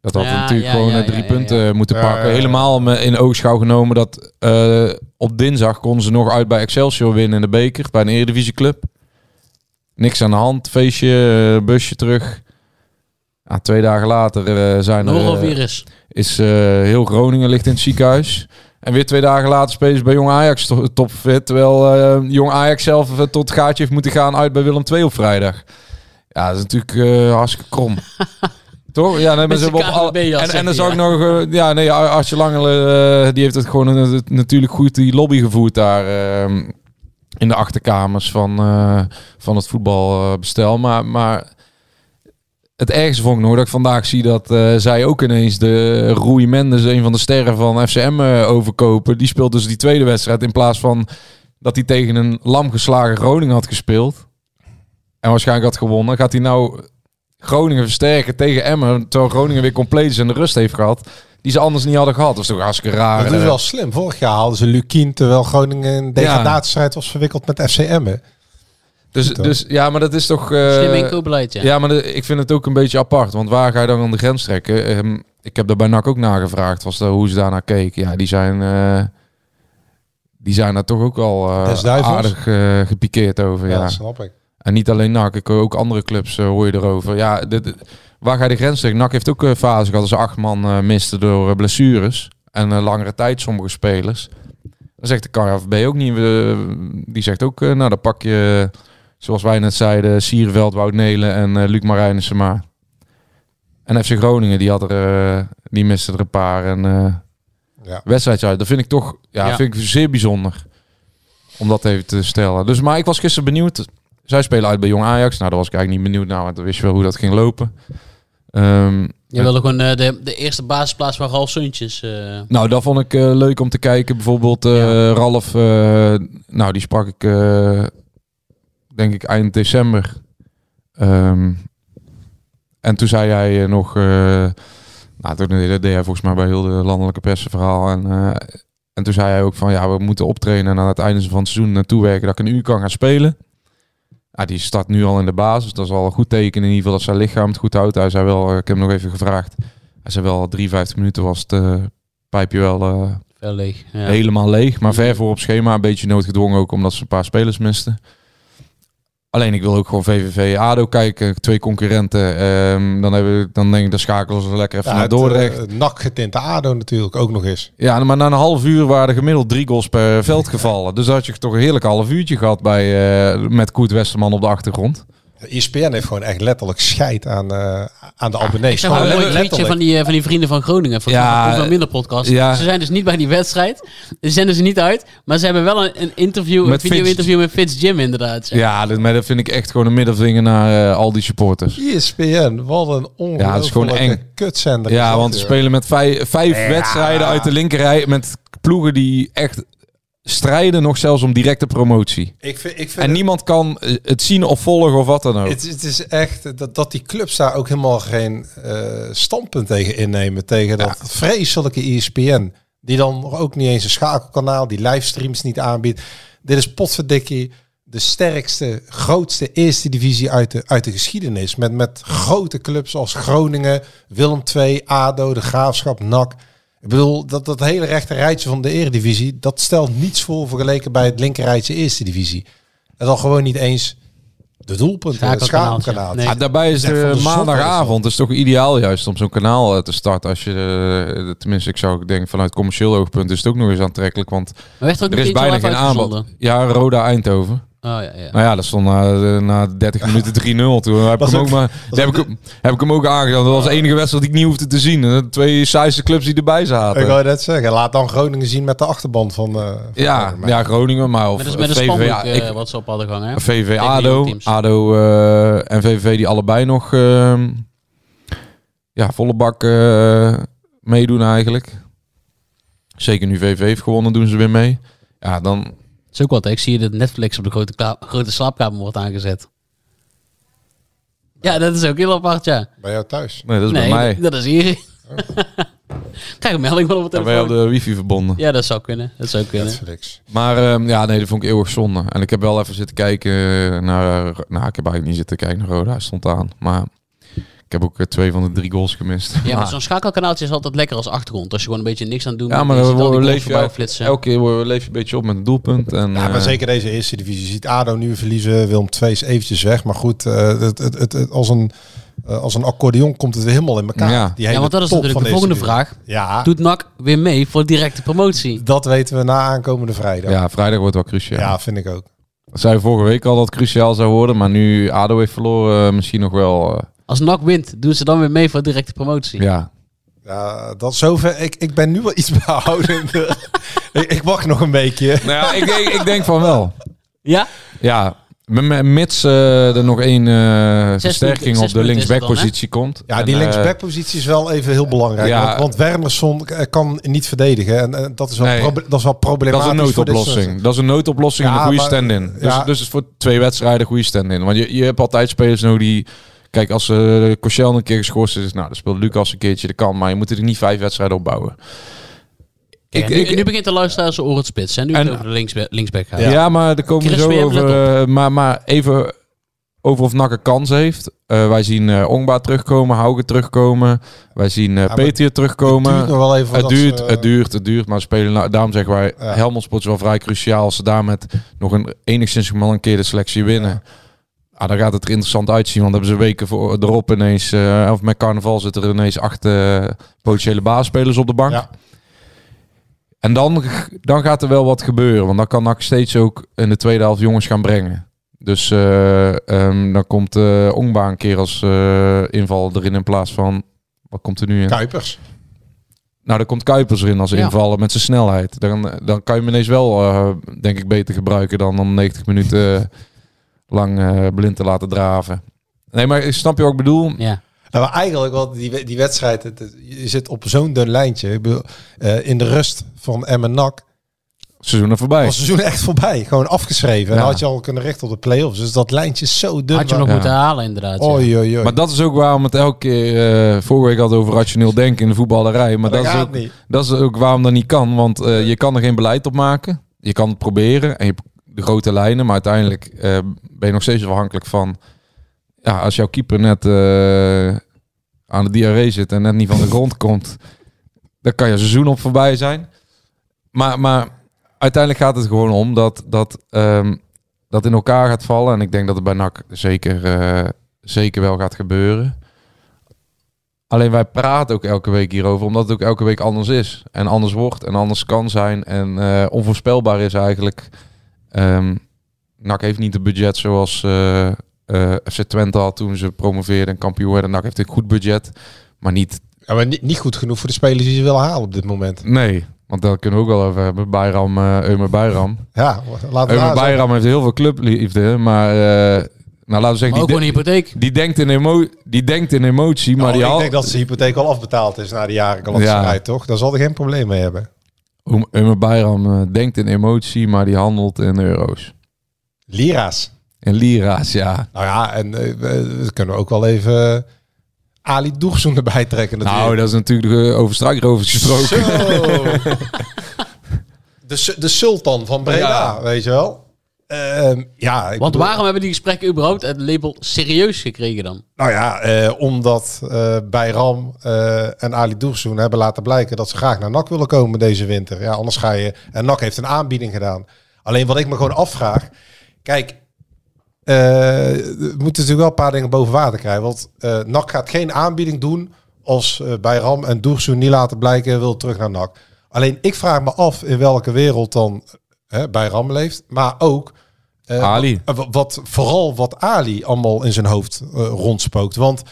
Speaker 8: Dat had
Speaker 6: Ja,
Speaker 8: natuurlijk
Speaker 6: ja,
Speaker 8: gewoon
Speaker 6: ja,
Speaker 8: eh, drie
Speaker 6: ja, ja, ja.
Speaker 8: punten moeten
Speaker 7: Ja,
Speaker 8: pakken.
Speaker 7: ja, ja.
Speaker 8: Helemaal me- in oogschouw genomen dat eh, op dinsdag konden ze nog uit bij Excelsior winnen in de beker. Bij een eredivisieclub. Niks aan de hand. Feestje, eh, busje terug. Ja, twee dagen later eh, zijn er... eh,
Speaker 6: Norovirus.
Speaker 8: is eh, heel Groningen ligt in het ziekenhuis. En weer twee dagen later spelen ze bij Jong Ajax to- topfit. Terwijl eh, Jong Ajax zelf eh, tot het gaatje heeft moeten gaan uit bij Willem II op vrijdag. Ja, dat is natuurlijk eh, hartstikke krom. Toch? Ja, dan
Speaker 6: Met
Speaker 8: hebben ze
Speaker 6: zijn
Speaker 8: op alle...
Speaker 6: KNVB-jas,
Speaker 8: En, en dan
Speaker 6: zegt
Speaker 8: zag
Speaker 6: hij,
Speaker 8: ik nog... eh, ja, nee, Ar- Artje Langele, eh, die heeft het gewoon eh, natuurlijk goed die lobby gevoerd daar... eh, in de achterkamers van, eh, van het voetbalbestel. Maar, maar het ergste vond ik nog dat ik vandaag zie dat eh, zij ook ineens de Rui Mendes, een van de sterren van FCM, eh, overkopen. Die speelt dus die tweede wedstrijd in plaats van dat hij tegen een lam geslagen Groningen had gespeeld. En waarschijnlijk had gewonnen. Gaat hij nou Groningen versterken tegen Emmen, terwijl Groningen weer compleet is en de rust heeft gehad. Die ze anders niet hadden gehad. Dat is toch hartstikke raar.
Speaker 7: Dat is
Speaker 8: hè?
Speaker 7: wel slim. Vorig jaar hadden ze Lukien terwijl Groningen een degradatiestrijd was verwikkeld met FCM. hè.
Speaker 8: dus,
Speaker 7: goed, hoor.
Speaker 8: dus ja, maar dat is toch... eh,
Speaker 6: Slim inkoopbeleid, ja.
Speaker 8: Ja, maar de- ik vind het ook een beetje apart. Want waar ga je dan aan de grens trekken? Ehm, ik heb daar bij NAC ook nagevraagd was de, hoe ze daarnaar keken. Ja, die zijn, eh, die zijn daar toch ook al eh,
Speaker 7: Des duivels?
Speaker 8: aardig eh, gepikeerd over.
Speaker 7: Ja,
Speaker 8: Ja.
Speaker 7: dat snap ik.
Speaker 8: En niet alleen NAC, ik, hoor ook andere clubs eh, hoor je erover. Ja, dit, waar ga je de grens trekken? NAC heeft ook eh, fases gehad als ze acht man eh, misten door eh, blessures. En eh, langere tijd sommige spelers. Dan zegt de KNVB ook niet. eh, die zegt ook, eh, nou dan pak je, eh, zoals wij net zeiden, Sierveld, Wout Nelen en eh Luc Marijnissen maar. En FC Groningen, die, had er, eh, die miste er een paar. En eh
Speaker 7: Ja.
Speaker 8: wedstrijdjes uit. Dat vind ik toch ja,
Speaker 6: Ja.
Speaker 8: Vind ik zeer bijzonder. Om dat even te stellen. Dus, maar ik was gisteren benieuwd. Zij spelen uit bij Jong Ajax. Nou, daar was ik eigenlijk niet benieuwd naar. Want dan wist je wel hoe dat ging lopen. Ehm,
Speaker 6: Je wilde gewoon eh, de, de eerste basisplaats van Ralf Suntjes. eh,
Speaker 8: nou, dat vond ik eh, leuk om te kijken. Bijvoorbeeld eh,
Speaker 6: Ja.
Speaker 8: Ralf, eh, nou die sprak ik eh, denk ik eind december. Ehm, en toen zei hij eh, nog, eh, nou toen deed, dat deed hij volgens mij bij heel de landelijke pers een verhaal. En, eh, en toen zei hij ook van ja, we moeten optrainen en aan het einde van het seizoen naartoe werken dat ik een uur kan gaan spelen. Ah, die start nu al in de basis. Dat is al een goed teken in ieder geval dat zijn lichaam het goed houdt. Hij zei wel, eh, ik heb hem nog even gevraagd. Hij zei wel, 53 minuten was het eh, pijpje wel eh,
Speaker 6: Wel leeg. Ja.
Speaker 8: helemaal leeg.
Speaker 7: Mhm.
Speaker 8: Maar ver voor op schema, een beetje noodgedwongen ook omdat ze een paar spelers misten. Alleen ik wil ook gewoon VVV ADO kijken, twee concurrenten. Ehm, dan, hebben, we- dan denk ik, dan schakelen ze lekker even
Speaker 7: Ja,
Speaker 8: naar
Speaker 7: het,
Speaker 8: Dordrecht.
Speaker 7: eh, nak getinte ADO natuurlijk ook nog eens.
Speaker 8: Ja, maar na een half uur waren er gemiddeld drie goals per veld gevallen. Dus dan had je toch een heerlijk half uurtje gehad bij, eh, met Koet Westerman op de achtergrond.
Speaker 7: ESPN heeft gewoon echt letterlijk scheid aan, eh, aan de abonnees.
Speaker 6: Ik zag wel een
Speaker 7: Gewoon
Speaker 6: mooi tweetje
Speaker 7: letterlijk.
Speaker 6: van die, eh, van die vrienden van Groningen. Van
Speaker 8: Ja,
Speaker 6: ja, van minder podcast.
Speaker 8: ja.
Speaker 6: Ze zijn dus niet bij die wedstrijd. Ze zenden ze niet uit. Maar ze hebben wel een, een interview,
Speaker 8: Met
Speaker 6: een video-interview met Fitz Jim inderdaad. zeg.
Speaker 8: Ja, dat, maar dat vind ik echt gewoon een middelvinger naar eh, al die supporters.
Speaker 7: E ESPN, wat een
Speaker 8: Ja, het is gewoon
Speaker 7: ongelooflijke
Speaker 8: eng.
Speaker 7: kutzender. is eh,
Speaker 8: Ja,
Speaker 7: dat,
Speaker 8: want we
Speaker 7: joh.
Speaker 8: spelen met vijf, vijf wedstrijden uit de linkerrij. Met ploegen die echt strijden, nog zelfs om directe promotie.
Speaker 7: Ik vind, ik vind
Speaker 8: En niemand kan eh, het zien of volgen of wat dan ook.
Speaker 7: het, het is echt dat, dat die clubs daar ook helemaal geen eh, standpunt tegen innemen. Tegen dat vreselijke E ESPN. Die dan ook niet eens een schakelkanaal, die livestreams niet aanbiedt. Dit is potverdikkie. De sterkste, grootste eerste divisie uit de, uit de geschiedenis. Met, met grote clubs als Groningen, Willem II, ADO, De Graafschap, NAC. Ik bedoel, dat, dat hele rechte rijtje van de eredivisie... dat stelt niets voor vergeleken bij het linker rijtje eerste divisie. En dan gewoon niet eens de doelpunt, het
Speaker 6: Schakelkanaal,
Speaker 7: schakelkanaal.
Speaker 6: ja. Nee.
Speaker 8: Ja, Ah, daarbij is
Speaker 7: Echt van
Speaker 8: de
Speaker 7: de zot is
Speaker 8: maandagavond is toch ideaal juist om zo'n kanaal eh, te starten. Als je, eh, tenminste, ik zou denken vanuit commercieel oogpunt is het ook nog eens aantrekkelijk. Want
Speaker 6: Maar werd er ook
Speaker 8: er
Speaker 6: nog
Speaker 8: is
Speaker 6: iets
Speaker 8: bijna
Speaker 6: live
Speaker 8: geen aanbod.
Speaker 6: uitgezonden?
Speaker 8: Ja, Roda Eindhoven.
Speaker 6: Oh ja, ja.
Speaker 8: Nou ja, dat stond na, na 30
Speaker 7: *laughs*
Speaker 8: minuten 3-0. Toen heb ik,
Speaker 7: Was
Speaker 8: hem ook,
Speaker 7: ook-
Speaker 8: maar,
Speaker 7: was
Speaker 8: daar heb,
Speaker 7: ook Ah.
Speaker 8: ik, hem- heb ik hem ook aangedaan. Dat was de enige wedstrijd die ik niet hoefde te zien. De twee saaiste clubs die erbij
Speaker 7: Ik
Speaker 8: zaten.
Speaker 7: wou net zeggen, laat dan Groningen zien met de achterband van... eh, van
Speaker 8: Ja,
Speaker 7: Groningen.
Speaker 8: ja, Groningen, maar of
Speaker 6: Met, een- met een
Speaker 8: VVV
Speaker 6: spandoek
Speaker 8: ik-
Speaker 6: eh, wat ze op hadden gehangen. hè?
Speaker 8: VVV
Speaker 6: Tegen die
Speaker 8: ADO,
Speaker 6: teams.
Speaker 8: ADO eh, en VVV die allebei nog ehm, ja, volle bak eh, meedoen eigenlijk. Zeker nu VVV heeft gewonnen, doen ze weer mee. Ja, dan,
Speaker 6: Het is ook wat. hè. Ik zie dat Netflix op de grote, kla- grote slaapkamer wordt aangezet. Ja, dat is ook heel apart, ja.
Speaker 7: Bij jou thuis.
Speaker 8: nee, dat is bij mij.
Speaker 6: dat is hier. *laughs* Krijg een melding van op
Speaker 8: Ja,
Speaker 6: mijn
Speaker 8: wij
Speaker 6: telefoon.
Speaker 8: hadden wifi verbonden.
Speaker 6: Ja, dat zou kunnen. Dat zou kunnen.
Speaker 7: Netflix.
Speaker 8: Maar ehm, ja, nee, dat vond ik eeuwig zonde. En ik heb wel even zitten kijken naar... Nou, ik heb eigenlijk niet zitten kijken naar Roda. Hij stond aan. Maar ik heb ook eh, twee van de drie goals gemist.
Speaker 6: Ja, maar zo'n schakelkanaaltje is altijd lekker als achtergrond. Als je gewoon een beetje niks aan het doen
Speaker 8: Ah. Ja,
Speaker 6: bent,
Speaker 8: maar
Speaker 6: je ziet
Speaker 8: dan
Speaker 6: al die
Speaker 8: leef
Speaker 6: goals
Speaker 8: je
Speaker 6: voorbij
Speaker 8: uit-
Speaker 6: flitsen.
Speaker 8: elke keer word- leef je een beetje op met een doelpunt. En,
Speaker 7: Ja, maar
Speaker 8: eh,
Speaker 7: zeker deze eerste divisie. Je ziet ADO nu verliezen, Willem II is eventjes weg. Maar goed, eh, het, het, het, het- als, een, eh, als een accordeon komt het weer helemaal in elkaar.
Speaker 8: Ja.
Speaker 7: Die
Speaker 6: Ja,
Speaker 7: hele
Speaker 6: want dat is
Speaker 7: top
Speaker 6: natuurlijk de
Speaker 7: van
Speaker 6: volgende
Speaker 7: deze
Speaker 6: vraag.
Speaker 7: divisie. Ja,
Speaker 6: Doet NAC weer mee voor directe promotie?
Speaker 7: dat weten we na aankomende vrijdag. Ja,
Speaker 8: ja, vrijdag wordt wel cruciaal.
Speaker 7: vind ik ook.
Speaker 8: Dat zei vorige week al dat het cruciaal zou worden. Maar nu ADO heeft verloren, eh, misschien nog wel... eh,
Speaker 6: Als NAC wint, doen ze dan weer mee voor directe promotie?
Speaker 8: ja,
Speaker 7: Ja, dat zover. Ik, ik ben nu wel iets *laughs* behoudender. ik, ik wacht nog een beetje.
Speaker 8: Nou ja, ik, denk, ik denk van wel.
Speaker 6: Ja?
Speaker 8: Ja, m- m- mits eh, er nog één eh, versterking
Speaker 6: zes
Speaker 8: op de
Speaker 6: punten is het dan,
Speaker 8: linksbackpositie komt.
Speaker 7: Ja,
Speaker 8: En,
Speaker 7: die
Speaker 8: eh,
Speaker 7: linksbackpositie is wel even heel belangrijk.
Speaker 8: ja.
Speaker 7: want, want Wernersson eh, kan niet verdedigen. En, eh, dat, is wel
Speaker 8: Nee.
Speaker 7: proble- dat is wel
Speaker 8: Dat
Speaker 7: problematisch.
Speaker 8: is een
Speaker 7: voor dit soort-
Speaker 8: noodoplossing. Dat is een noodoplossing en
Speaker 7: Ja,
Speaker 8: een goede
Speaker 7: maar-
Speaker 8: stand-in. Dus,
Speaker 7: ja.
Speaker 8: dus het is voor twee wedstrijden een goede stand-in. Want je, je hebt altijd spelers nodig die... Kijk, als eh Kochel een keer geschorst is, nou, dan speelt Lucas een keertje. Dat kan, maar je moet er niet vijf wedstrijden opbouwen.
Speaker 6: Kijk, nu, nu begint de luisteraar zijn oren te spitsen. En nu
Speaker 8: En-
Speaker 6: het over de linksbe- linksback gaat.
Speaker 8: Ja, maar er komen we
Speaker 6: Chris,
Speaker 8: zo
Speaker 6: wil je
Speaker 8: over.
Speaker 6: even
Speaker 8: eh, maar, maar even over of Nak een kans heeft. Eh, wij zien eh Ongba terugkomen, Hauge terugkomen. Wij zien eh
Speaker 7: maar
Speaker 8: Peter terugkomen.
Speaker 7: Het duurt nog wel even.
Speaker 8: Het
Speaker 7: dat
Speaker 8: duurt,
Speaker 7: ze-
Speaker 8: het duurt, het duurt, maar spelen, nou, daarom zeggen wij,
Speaker 7: Ja.
Speaker 8: Helmond is wel vrij cruciaal. Als ze daar met nog een enigszins gemankeerde selectie winnen, ah, dan gaat het er interessant uitzien. Want dan hebben ze weken voor, erop ineens, eh, of met carnaval zitten er ineens acht eh, potentiële baasspelers op de bank.
Speaker 7: Ja.
Speaker 8: En dan, dan gaat er wel wat gebeuren, want dan kan NAC steeds ook in de tweede helft jongens gaan brengen. Dus eh, ehm, dan komt eh Ongba een keer als eh, inval erin in plaats van, wat komt er nu in?
Speaker 7: eh, Kuipers.
Speaker 8: Nou, dan komt Kuipers erin als
Speaker 6: Ja.
Speaker 8: invallen met zijn snelheid. Dan, dan kan je hem ineens wel, eh, denk ik, beter gebruiken dan om 90 minuten eh, lang eh, blind te laten draven. Nee, maar ik snap je wat ik bedoel?
Speaker 6: Ja.
Speaker 7: Nou, maar eigenlijk wel die, we- die wedstrijd. Het, het- je zit op zo'n dun lijntje. Ik bedoel, eh, in de rust van Emmen NAC
Speaker 8: Seizoen er voorbij.
Speaker 7: was het seizoen echt voorbij. Gewoon afgeschreven. En
Speaker 8: Ja.
Speaker 7: dan had je al kunnen richten op de play-offs. Dus dat lijntje is zo dun.
Speaker 6: Had je hem nog
Speaker 8: Ja.
Speaker 6: moeten halen, inderdaad. ja.
Speaker 7: Oei, oei, oei.
Speaker 8: Maar dat is ook waarom het elke keer... eh, vorige week had het over rationeel denken in de voetballerij. Maar
Speaker 7: Maar
Speaker 8: dat, is
Speaker 7: gaat
Speaker 8: ook,
Speaker 7: niet.
Speaker 8: dat is ook waarom dat niet kan. Want eh, je kan er geen beleid op maken. Je kan het proberen en je hebt de grote lijnen. Maar uiteindelijk eh, ben je nog steeds afhankelijk van... Ja, als jouw keeper net eh, aan de diarree zit en net niet van de grond *laughs* komt... Dan kan je seizoen op voorbij zijn. Maar, maar uiteindelijk gaat het gewoon om dat... dat ehm, dat in elkaar gaat vallen. En ik denk dat het bij NAC zeker, eh, zeker wel gaat gebeuren. Alleen wij praten ook elke week hierover, omdat het ook elke week anders is. En anders wordt en anders kan zijn. En eh, onvoorspelbaar is eigenlijk. Ehm NAC heeft niet het budget zoals eh eh, FC Twente had toen ze promoveerden en kampioen werden. NAC heeft een goed budget, maar niet...
Speaker 7: Ja, maar niet, niet goed genoeg voor de spelers die ze willen halen op dit moment.
Speaker 8: Nee, want daar kunnen we ook wel over hebben. Bayram, eh Eumer Bayram.
Speaker 7: Ja, laten we
Speaker 8: Eumer
Speaker 7: daar zo-
Speaker 8: Bayram heeft heel veel clubliefde, maar... eh, nou, laten we zeggen...
Speaker 6: Maar ook
Speaker 8: die-
Speaker 6: gewoon een hypotheek.
Speaker 8: Die denkt in, emo die denkt in emotie, maar
Speaker 7: Nou,
Speaker 8: die
Speaker 7: ik
Speaker 8: al...
Speaker 7: denk dat zijn hypotheek al afbetaald is na de jaren kalatserij, toch? Daar zal hij geen probleem mee hebben.
Speaker 8: Oem- Umar Bayram eh, denkt in emotie, maar die handelt in euro's.
Speaker 7: Lira's.
Speaker 8: In lira's, ja.
Speaker 7: Nou ja, en eh, we, we kunnen ook wel even eh, Ali Doegzoen erbij trekken
Speaker 8: Nou,
Speaker 7: natuurlijk.
Speaker 8: dat is natuurlijk eh, over struikrovers gesproken.
Speaker 7: Zo. *laughs* de, su- de sultan van Breda,
Speaker 8: Ja.
Speaker 7: weet je wel? Ehm, ja, ik
Speaker 6: Want
Speaker 7: bedoel-
Speaker 6: waarom hebben die gesprekken überhaupt het label serieus gekregen dan?
Speaker 7: Nou ja, eh, omdat eh Bayram eh, en Ali Doegzoen hebben laten blijken dat ze graag naar NAC willen komen deze winter. Ja, anders ga je... En NAC heeft een aanbieding gedaan. Alleen wat ik me gewoon afvraag... Kijk, eh, we moeten natuurlijk wel een paar dingen boven water krijgen. Want eh NAC gaat geen aanbieding doen als eh Bayram en Doegzoen niet laten blijken wil terug naar NAC. Alleen ik vraag me af in welke wereld dan hè, Bayram leeft. Maar ook... eh,
Speaker 8: Ali.
Speaker 7: eh, wa- Wat, vooral wat Ali allemaal in zijn hoofd eh, rondspookt. Want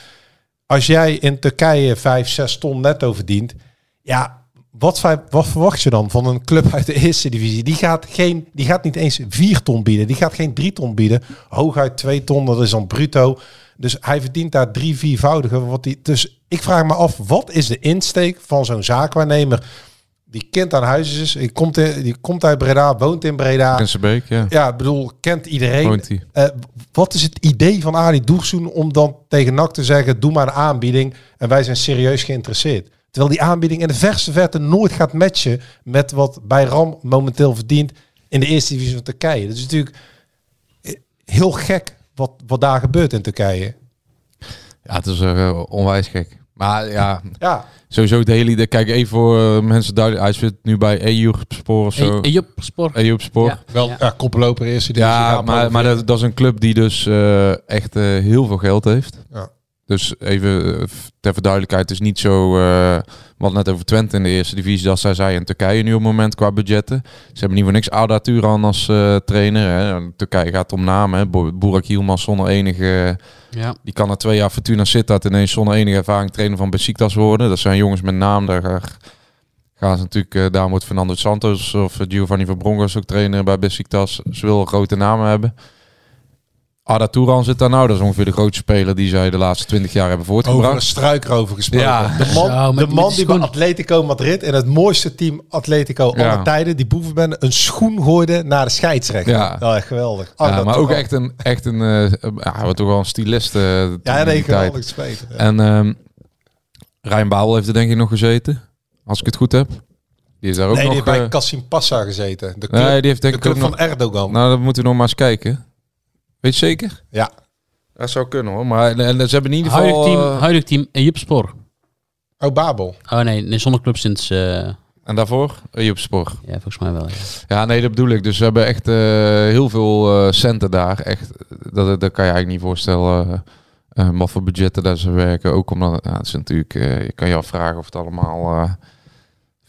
Speaker 7: als jij in Turkije 5, 6 ton netto verdient, ja, wat, vij- wat verwacht je dan van een club uit de eerste divisie? Die gaat, geen, die gaat niet eens 4 ton bieden, die gaat geen 3 ton bieden. Hooguit 2 ton, dat is dan bruto. Dus hij verdient daar drie, viervoudige. Wat die, dus ik vraag me af, wat is de insteek van zo'n zaakwaarnemer die kind aan huis is, die komt, in, die komt uit Breda, woont in Breda.
Speaker 8: Prinsenbeek, ja.
Speaker 7: Ja, ik bedoel, kent iedereen.
Speaker 8: Woont hij.
Speaker 7: Eh, wat is het idee van Ali Doegsoen om dan tegen NAC te zeggen... doe maar een aanbieding en wij zijn serieus geïnteresseerd. Terwijl die aanbieding in de verse verte nooit gaat matchen met wat bij Ram momenteel verdient in de eerste divisie van Turkije. Dat is natuurlijk eh, heel gek wat, wat daar gebeurt in Turkije.
Speaker 8: Ja, het is eh, onwijs gek. Maar ja,
Speaker 7: Ja,
Speaker 8: sowieso de hele idee. Kijk even voor eh, mensen duidelijk. Hij zit nu bij E EU-spoor of zo. E
Speaker 6: En Job Sport.
Speaker 8: EU-spoor.
Speaker 6: Ja.
Speaker 7: wel
Speaker 6: Ja.
Speaker 7: ja. koploper eerste divisie.
Speaker 8: Ja, maar, maar dat, dat is een club die dus eh, echt eh, heel veel geld heeft.
Speaker 7: Ja.
Speaker 8: Dus even eh, f- ter verduidelijkheid, het is niet zo, wat net over Twente in de eerste divisie, dat zij zij in Turkije nu op het moment qua budgetten. Ze hebben niet voor niks Arda Turan als eh, trainer. Hè. En Turkije gaat om namen. Hè. Bo- Burak Yilmaz zonder enige,
Speaker 6: Ja.
Speaker 8: die kan na twee jaar Fortuna Sittard ineens zonder enige ervaring trainer van Besiktas worden. Dat zijn jongens met naam, daar ga- gaan ze natuurlijk, eh, daar moet Fernando Santos of Giovanni van Broncos ook trainen bij Besiktas. Ze willen grote namen hebben. Arda Turan zit daar nou, dat is ongeveer de grootste speler die zij de laatste twintig jaar hebben
Speaker 7: Over een
Speaker 8: voortgebracht.
Speaker 7: struikrover gesproken.
Speaker 8: Ja.
Speaker 7: De man,
Speaker 6: Zo, met-
Speaker 7: de
Speaker 6: met
Speaker 7: man
Speaker 6: die
Speaker 7: die bij
Speaker 6: schoen.
Speaker 7: Atletico Madrid en het mooiste team Atletico
Speaker 8: Ja.
Speaker 7: aller tijden, die boevenbende, een schoen gooide naar de scheidsrechter.
Speaker 8: Ja.
Speaker 7: Ja, geweldig. Ah,
Speaker 8: Ja,
Speaker 7: dat
Speaker 8: Eh, maar
Speaker 7: toch
Speaker 8: ook
Speaker 7: wel.
Speaker 8: echt een, echt een, eh, ja, wat toch wel een stylist. eh, toen
Speaker 7: Ja,
Speaker 8: in
Speaker 7: nee,
Speaker 8: die tijd.
Speaker 7: geweldig spelen. Ja.
Speaker 8: En ehm Rijn Babel heeft er denk ik nog gezeten, als ik het goed heb. Die is daar ook
Speaker 7: Nee, die
Speaker 8: nog...
Speaker 7: heeft bij
Speaker 8: eh,
Speaker 7: Kassim Passa gezeten. De club,
Speaker 8: nee, die heeft denk
Speaker 7: de
Speaker 8: ik ook
Speaker 7: club
Speaker 8: nog...
Speaker 7: van Erdogan.
Speaker 8: Nou, dat moeten we nog maar eens kijken. Weet je zeker?
Speaker 7: Ja.
Speaker 8: Dat zou kunnen hoor. Maar en, en ze hebben in ieder geval...
Speaker 6: Huidig team,
Speaker 8: eh,
Speaker 6: huidig team Job Sport.
Speaker 7: Oh, Babel.
Speaker 6: Oh nee, nee, zonder club sinds... eh,
Speaker 8: en daarvoor? Eh, Joep Spoor.
Speaker 6: ja, volgens mij wel. ja.
Speaker 8: Ja, nee, dat bedoel ik. Dus ze hebben echt eh, heel veel eh, centen daar. Echt, eh, dat, dat kan je eigenlijk niet voorstellen. eh, eh, wat voor budgetten daar ze werken. Ook omdat het- ja, het is natuurlijk... eh, je kan je afvragen of het allemaal... eh,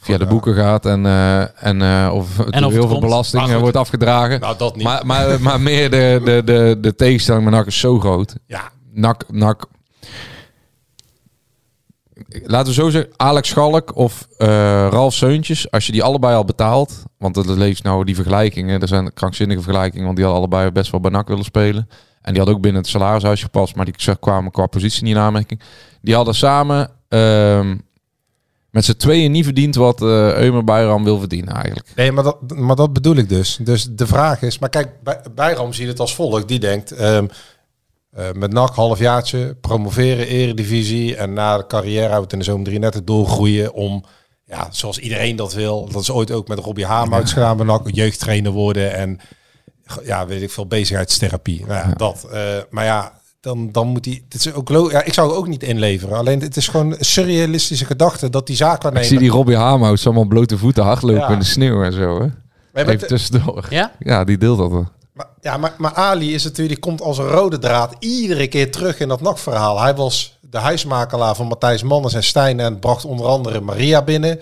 Speaker 8: Via de boeken gaat en, eh, en eh, of, het
Speaker 6: het
Speaker 8: heel veel
Speaker 6: komt.
Speaker 8: belasting
Speaker 7: Maar
Speaker 8: eh,
Speaker 7: goed.
Speaker 8: wordt afgedragen.
Speaker 7: Nou, dat niet.
Speaker 8: Maar, maar, maar meer de, de, de, de tegenstelling met NAC is zo groot.
Speaker 7: ja.
Speaker 8: Nak, nak. Laten we zo zeggen, Alex Schalk of eh, Ralf Seuntjes, als je die allebei al betaalt, want dat lees nou die vergelijkingen, er zijn krankzinnige vergelijkingen, want die hadden allebei best wel bij NAC willen spelen. En die hadden ook binnen het salarishuis gepast, maar die zeg- kwamen qua positie niet in aanmerking. Die hadden samen ehm, met z'n tweeën niet verdiend wat eh Eumer Bayram wil verdienen eigenlijk.
Speaker 7: Nee, maar dat, maar dat bedoel ik dus. Dus de vraag is... Maar kijk, bij, Bijram ziet het als volgt. Die denkt, ehm, eh, met NAC halfjaartje, promoveren, eredivisie... en na de carrière houdt in de zomer 33 doorgroeien om... Ja, zoals iedereen dat wil. Dat is ooit ook met Robbie Haarmout gedaan bij NAC. Jeugdtrainer worden en... Ja, weet ik veel, bezigheidstherapie. Nou ja, dat. eh, maar ja... Dan, dan moet hij. Het is ook lo- ja, ik zou het ook niet inleveren. Alleen het is gewoon een surrealistische gedachte dat die zaak
Speaker 8: Ik zie die Robbie Haarmout allemaal blote voeten hardlopen
Speaker 7: Ja.
Speaker 8: in de sneeuw en zo. Hè? Even tussendoor.
Speaker 6: Ja?
Speaker 8: Ja, die deelt dat wel.
Speaker 7: Maar, ja, maar, maar Ali is natuurlijk, die komt als een rode draad iedere keer terug in dat NAC-verhaal. Hij was de huismakelaar van Matthijs Manners en Stijn en bracht onder andere Maria binnen.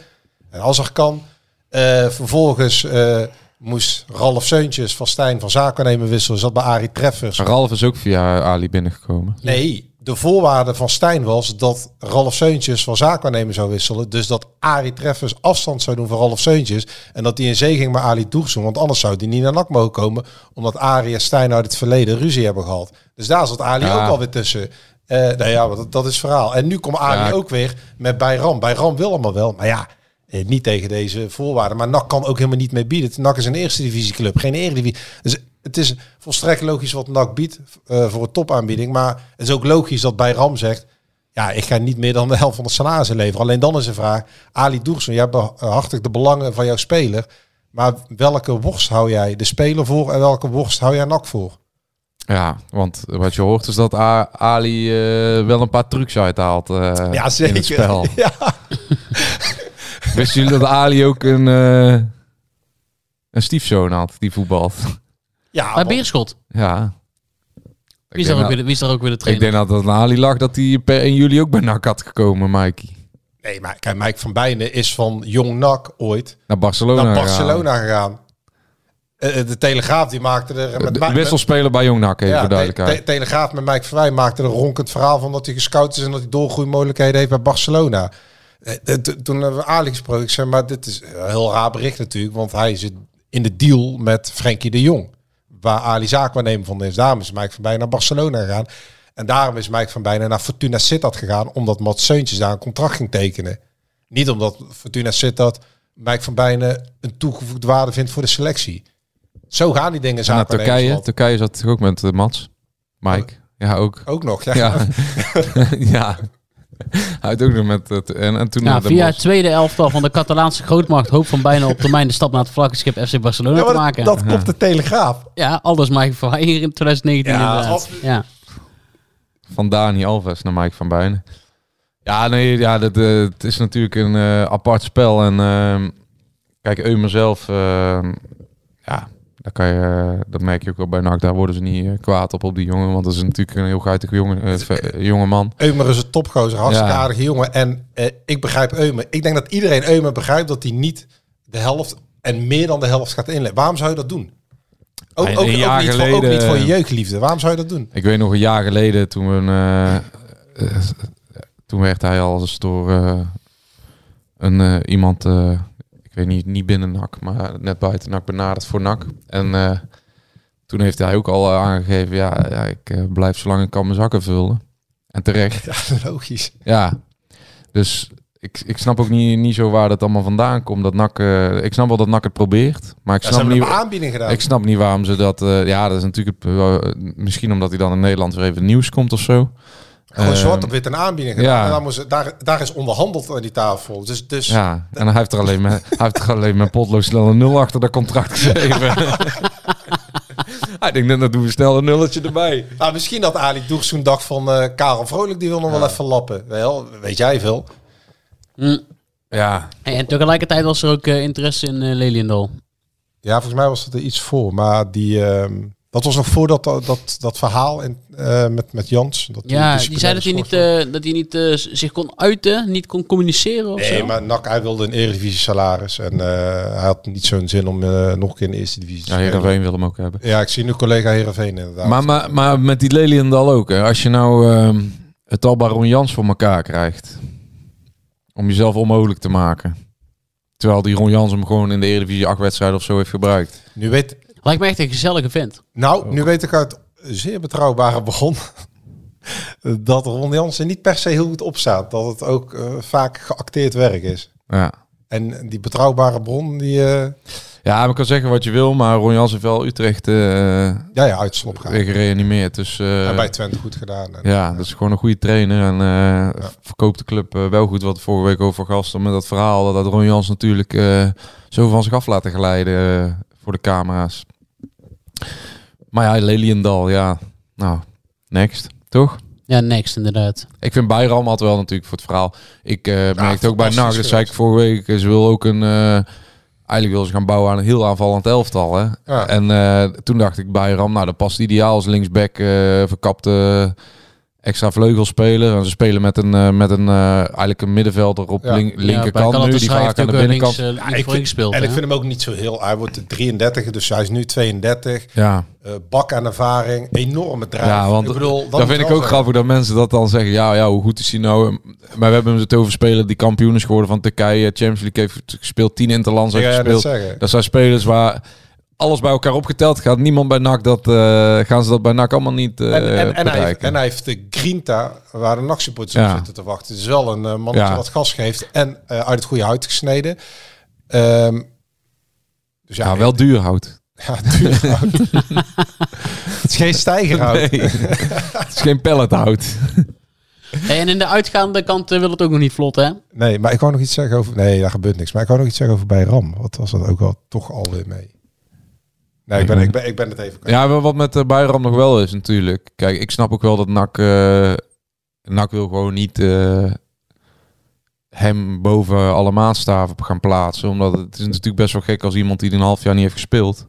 Speaker 7: En Azarkan. Eh vervolgens eh, moest Ralf Seuntjes van Stijn van zakennemen wisselen. Zat bij Arie Treffers.
Speaker 8: Ralf is ook via Ali binnengekomen.
Speaker 7: Nee, de voorwaarde van Stijn was dat Ralf Seuntjes van zaakwaarnemer zou wisselen. Dus dat Arie Treffers afstand zou doen van Ralf Seuntjes. En dat hij in zee ging met Ali Doegzoen. Want anders zou die niet naar NAC mogen komen. Omdat Arie en Stijn uit het verleden ruzie hebben gehad. Dus daar zat Ali
Speaker 8: Ja.
Speaker 7: ook alweer tussen. Eh nou ja, maar dat, dat is het verhaal. En nu komt Arie
Speaker 8: Ja.
Speaker 7: ook weer met Bayram. Bayram wil allemaal wel, maar ja... eh, Niet tegen deze voorwaarden. Maar NAC kan ook helemaal niet mee bieden. NAC is een eerste divisieclub, geen eredivisie. Dus het is volstrekt logisch wat NAC biedt eh, voor een topaanbieding. Maar het is ook logisch dat bij Ram zegt... Ja, ik ga niet meer dan de helft van de salarissen leveren. Alleen dan is de vraag... Ali Doersen, jij behartigt de belangen van jouw speler. Maar welke worst hou jij de speler voor... en welke worst hou jij NAC voor?
Speaker 8: Ja, want wat je hoort is dat A- Ali eh, wel een paar trucs uithaalt eh, in het spel.
Speaker 7: *laughs* Ja.
Speaker 8: Wisten jullie dat Ali ook een, eh, een stiefzoon had die voetbalt? *laughs*
Speaker 7: Ja,
Speaker 6: Maar
Speaker 7: want-
Speaker 6: Beerschot.
Speaker 8: ja.
Speaker 6: Wie is,
Speaker 8: Ik
Speaker 6: daar ook
Speaker 8: denk
Speaker 6: weer, de- wie is daar ook weer de
Speaker 8: dat, ik
Speaker 6: trainer?
Speaker 8: denk dat het aan Ali lag dat hij per 1 juli ook bij NAC had gekomen, Mikey.
Speaker 7: Nee, maar kijk, Mike van Bijnen is van Jong NAC ooit...
Speaker 8: Naar Barcelona.
Speaker 7: naar
Speaker 8: gegaan.
Speaker 7: Barcelona gegaan. Eh, eh, de Telegraaf die maakte er...
Speaker 8: Eh, De-
Speaker 7: met-
Speaker 8: De
Speaker 7: met-
Speaker 8: wisselspeler bij Jong NAC, even
Speaker 7: Ja,
Speaker 8: voor duidelijkheid.
Speaker 7: Te- Te- Telegraaf met Mike Verwij maakte een ronkend verhaal van dat hij gescout is en dat hij doorgroeimogelijkheden heeft bij Barcelona. Eh, eh, to- Toen hebben we Ali gesproken. Ik zei, maar dit is een heel raar bericht natuurlijk, want hij zit in de deal met Frenkie de Jong. Waar Ali zaakwaarnemer van is. Daarom is Mike van Bijna naar Barcelona gegaan. En daarom is Mike van Bijna naar Fortuna Sittard gegaan, omdat Mats Seuntjes daar een contract ging tekenen. Niet omdat Fortuna Sittard Mike van Bijna een toegevoegde waarde vindt voor de selectie. Zo gaan die dingen
Speaker 8: En naar
Speaker 7: zaken.
Speaker 8: Turkije. Turkije zat
Speaker 6: *laughs*
Speaker 8: toch ook met eh, Mats. Mike. Ja, ook.
Speaker 7: Ook nog, ja.
Speaker 8: Ja. ja. Hij heeft ook nog met... het- en, en toen
Speaker 6: Ja,
Speaker 8: naar Den
Speaker 6: via het
Speaker 8: Bosch.
Speaker 6: tweede elftal van de Catalaanse grootmacht hoopt van bijna op termijn de stap naar het vlaggenschip FC Barcelona
Speaker 7: Ja, maar
Speaker 6: te maken.
Speaker 7: dat, dat komt de Telegraaf.
Speaker 6: Ja, alles Mike van hier in 2019
Speaker 7: Ja,
Speaker 6: inderdaad.
Speaker 7: absoluut.
Speaker 6: Ja.
Speaker 8: Van Dani Alves naar Mike van Buinen. Ja, nee, ja, dat, eh, het is natuurlijk een eh, apart spel. En ehm, kijk, Eumer zelf, ehm, ja, daar kan je, eh, dat merk je ook wel bij NAC. Daar worden ze niet eh, kwaad op, op die jongen. Want dat is natuurlijk een heel guitige jongen, eh, ve- jonge man.
Speaker 7: Eumer is een topgozer, hartstikke
Speaker 8: Ja.
Speaker 7: aardige jongen. En eh, ik begrijp Eumer. Ik denk dat iedereen Eumer begrijpt dat hij niet de helft en meer dan de helft gaat inleggen. Waarom zou je dat doen? Ook,
Speaker 8: Een
Speaker 7: ook, ook
Speaker 8: jaar
Speaker 7: niet voor, ook
Speaker 8: geleden-
Speaker 7: niet voor je jeugdliefde. Waarom zou je dat doen? *laughs*
Speaker 8: Ik weet nog een jaar geleden toen we... een, eh, eh, toen werd hij al eens door eh, een, eh, iemand, eh, ik weet niet, niet binnen NAC, maar net buiten NAC benaderd voor NAC. En eh, toen heeft hij ook al eh, aangegeven, ja, ja ik eh, blijf zolang ik kan mijn zakken vullen. En
Speaker 7: *laughs*
Speaker 8: terecht,
Speaker 7: Ja, logisch.
Speaker 8: ja. Dus ik, ik snap ook niet, niet zo waar dat allemaal vandaan komt. Dat NAC, eh, ik snap wel dat NAC het probeert, maar ik
Speaker 7: Ja, ze
Speaker 8: snap
Speaker 7: hebben
Speaker 8: niet...
Speaker 7: een aanbieding gedaan.
Speaker 8: Ik snap niet waarom ze dat. eh, ja, dat is natuurlijk. eh, misschien omdat hij dan in Nederland weer even nieuws komt of zo.
Speaker 7: Gewoon
Speaker 8: Ehm,
Speaker 7: zwart op wit een
Speaker 8: ja.
Speaker 7: aanbieding gedaan. En daar, moest, daar, daar is onderhandeld aan die tafel. Dus, dus
Speaker 8: Ja, en hij heeft er alleen met, hij heeft er alleen met potlood snel een nul achter dat contract geschreven. *laughs* hij denkt, dat doen we snel een nulletje erbij.
Speaker 7: Nou, misschien dat Ali Doeg zo'n dag van eh, Karel Vrolijk, die wil nog wel even lappen. Wel, weet jij veel.
Speaker 8: Ja,
Speaker 6: Hey, en tegelijkertijd was er ook eh, interesse in eh, Leliendal.
Speaker 7: Ja, volgens mij was dat er iets voor. Maar die, ehm, dat was nog voordat dat, dat, dat verhaal in, eh, met, met Jans. Dat
Speaker 6: Ja, die,
Speaker 7: die
Speaker 6: zei dat hij niet,
Speaker 7: sportman-
Speaker 6: eh, dat hij niet eh, z- zich kon uiten, niet kon communiceren of
Speaker 7: Nee,
Speaker 6: zo.
Speaker 7: maar Nak, hij wilde een Eredivisie salaris. En eh, hij had niet zo'n zin om eh, nog een keer in de Eerste Divisie te
Speaker 8: ja
Speaker 7: spelen.
Speaker 8: Heerenveen wil hem ook hebben.
Speaker 7: Ja, ik zie nu collega Heerenveen inderdaad.
Speaker 8: Maar, maar, maar met die Leliendal ook. Hè. Als je nou ehm, het al Baron Jans voor elkaar krijgt. Om jezelf onmogelijk te maken. Terwijl die Ron Jans hem gewoon in de Eredivisie acht wedstrijden of zo heeft gebruikt.
Speaker 7: nu weet,
Speaker 6: Lijkt me echt een gezellige vent.
Speaker 7: nou,
Speaker 8: Oh.
Speaker 7: nu weet ik uit zeer betrouwbare bron... *laughs* dat Ron Jansen niet per se heel goed opstaat. Dat het ook eh, vaak geacteerd werk is.
Speaker 8: Ja.
Speaker 7: En die betrouwbare bron, die eh,
Speaker 8: Ja, maar ik kan zeggen wat je wil, maar Ron Jans heeft wel Utrecht eh,
Speaker 7: ja, ja, uit slop gaat.
Speaker 8: weer gereanimeerd. Dus eh,
Speaker 7: en bij Twente goed gedaan. En,
Speaker 8: ja, dat is gewoon een goede trainer en eh, verkoopt de club eh, wel goed. Wat vorige week over gasten met dat verhaal dat Ron Jans natuurlijk eh, zo van zich af laten glijden eh, voor de camera's. Maar ja, Leliendal, ja. Nou, next, toch?
Speaker 6: Ja, next inderdaad.
Speaker 8: Ik vind Bayram had wel natuurlijk voor het verhaal. Ik eh merkte ook bij
Speaker 7: fantastisch
Speaker 8: NAC, dat zei ik
Speaker 7: geweest.
Speaker 8: vorige week, eh, ze wil ook een... eh, eigenlijk wil ze gaan bouwen aan een heel aanvallend elftal. Hè?
Speaker 7: Ja.
Speaker 8: En eh, toen dacht ik Bayram, nou dat past ideaal als linksback eh, verkapte extra vleugelspeler. En ze spelen met een, eh, met een eh, eigenlijk een middenvelder op
Speaker 7: Ja.
Speaker 8: link-
Speaker 6: ja,
Speaker 8: linkerkant
Speaker 6: bij
Speaker 8: nu. Die
Speaker 6: Galatasaray
Speaker 8: vaak aan de
Speaker 6: heeft ook, eh,
Speaker 8: binnenkant...
Speaker 6: Links, eh, links
Speaker 7: ik
Speaker 6: voorin
Speaker 7: vind-
Speaker 6: gespeeld,
Speaker 7: en
Speaker 6: hè?
Speaker 7: ik vind hem ook niet zo heel... Hij wordt 33, dus hij is nu 32.
Speaker 8: ja.
Speaker 7: Eh, bak aan ervaring, enorme draai.
Speaker 8: Ja, want
Speaker 7: ik bedoel,
Speaker 8: dat vind ik ook grappig dat mensen dat dan zeggen. Ja, ja, hoe goed is hij nou? Maar we hebben hem het over spelen die kampioen is geworden van Turkije. Champions League heeft gespeeld, tien interlands heeft
Speaker 7: Ja, ja, dat
Speaker 8: gespeeld.
Speaker 7: zeggen.
Speaker 8: Dat zijn spelers waar alles bij elkaar opgeteld gaat. Niemand bij NAC dat, eh, gaan ze dat bij NAC allemaal niet eh
Speaker 7: En, en, en, hij, heeft-
Speaker 8: bereiken.
Speaker 7: en hij heeft de Grinta, waar de nachtsupporters
Speaker 8: Ja.
Speaker 7: op zitten te wachten. Het is wel een eh, mannetje
Speaker 8: Ja.
Speaker 7: wat gas geeft en eh, uit het goede hout gesneden. Ehm, dus ja,
Speaker 8: ja, wel duur houdt.
Speaker 7: *laughs* Ja, duur hout.
Speaker 8: *laughs*
Speaker 7: het is geen stijgerhout.
Speaker 8: Nee.
Speaker 7: *laughs*
Speaker 8: het is geen pellethout.
Speaker 6: Hey, en in de uitgaande kant eh, wil het ook nog niet vlot, hè?
Speaker 7: Nee, maar ik wou nog iets zeggen over... Nee, daar gebeurt niks. Maar ik wou nog iets zeggen over bij Ram. Wat was dat ook al toch alweer mee? Nee, ik ben, ik ben, ik ben het even kwijt.
Speaker 8: Ja, maar wat met eh, Bayram nog wel is natuurlijk. Kijk, ik snap ook wel dat NAC... eh, NAC wil gewoon niet eh, hem boven alle maatstaven gaan plaatsen. Omdat het is natuurlijk best wel gek als iemand die een half jaar niet heeft gespeeld...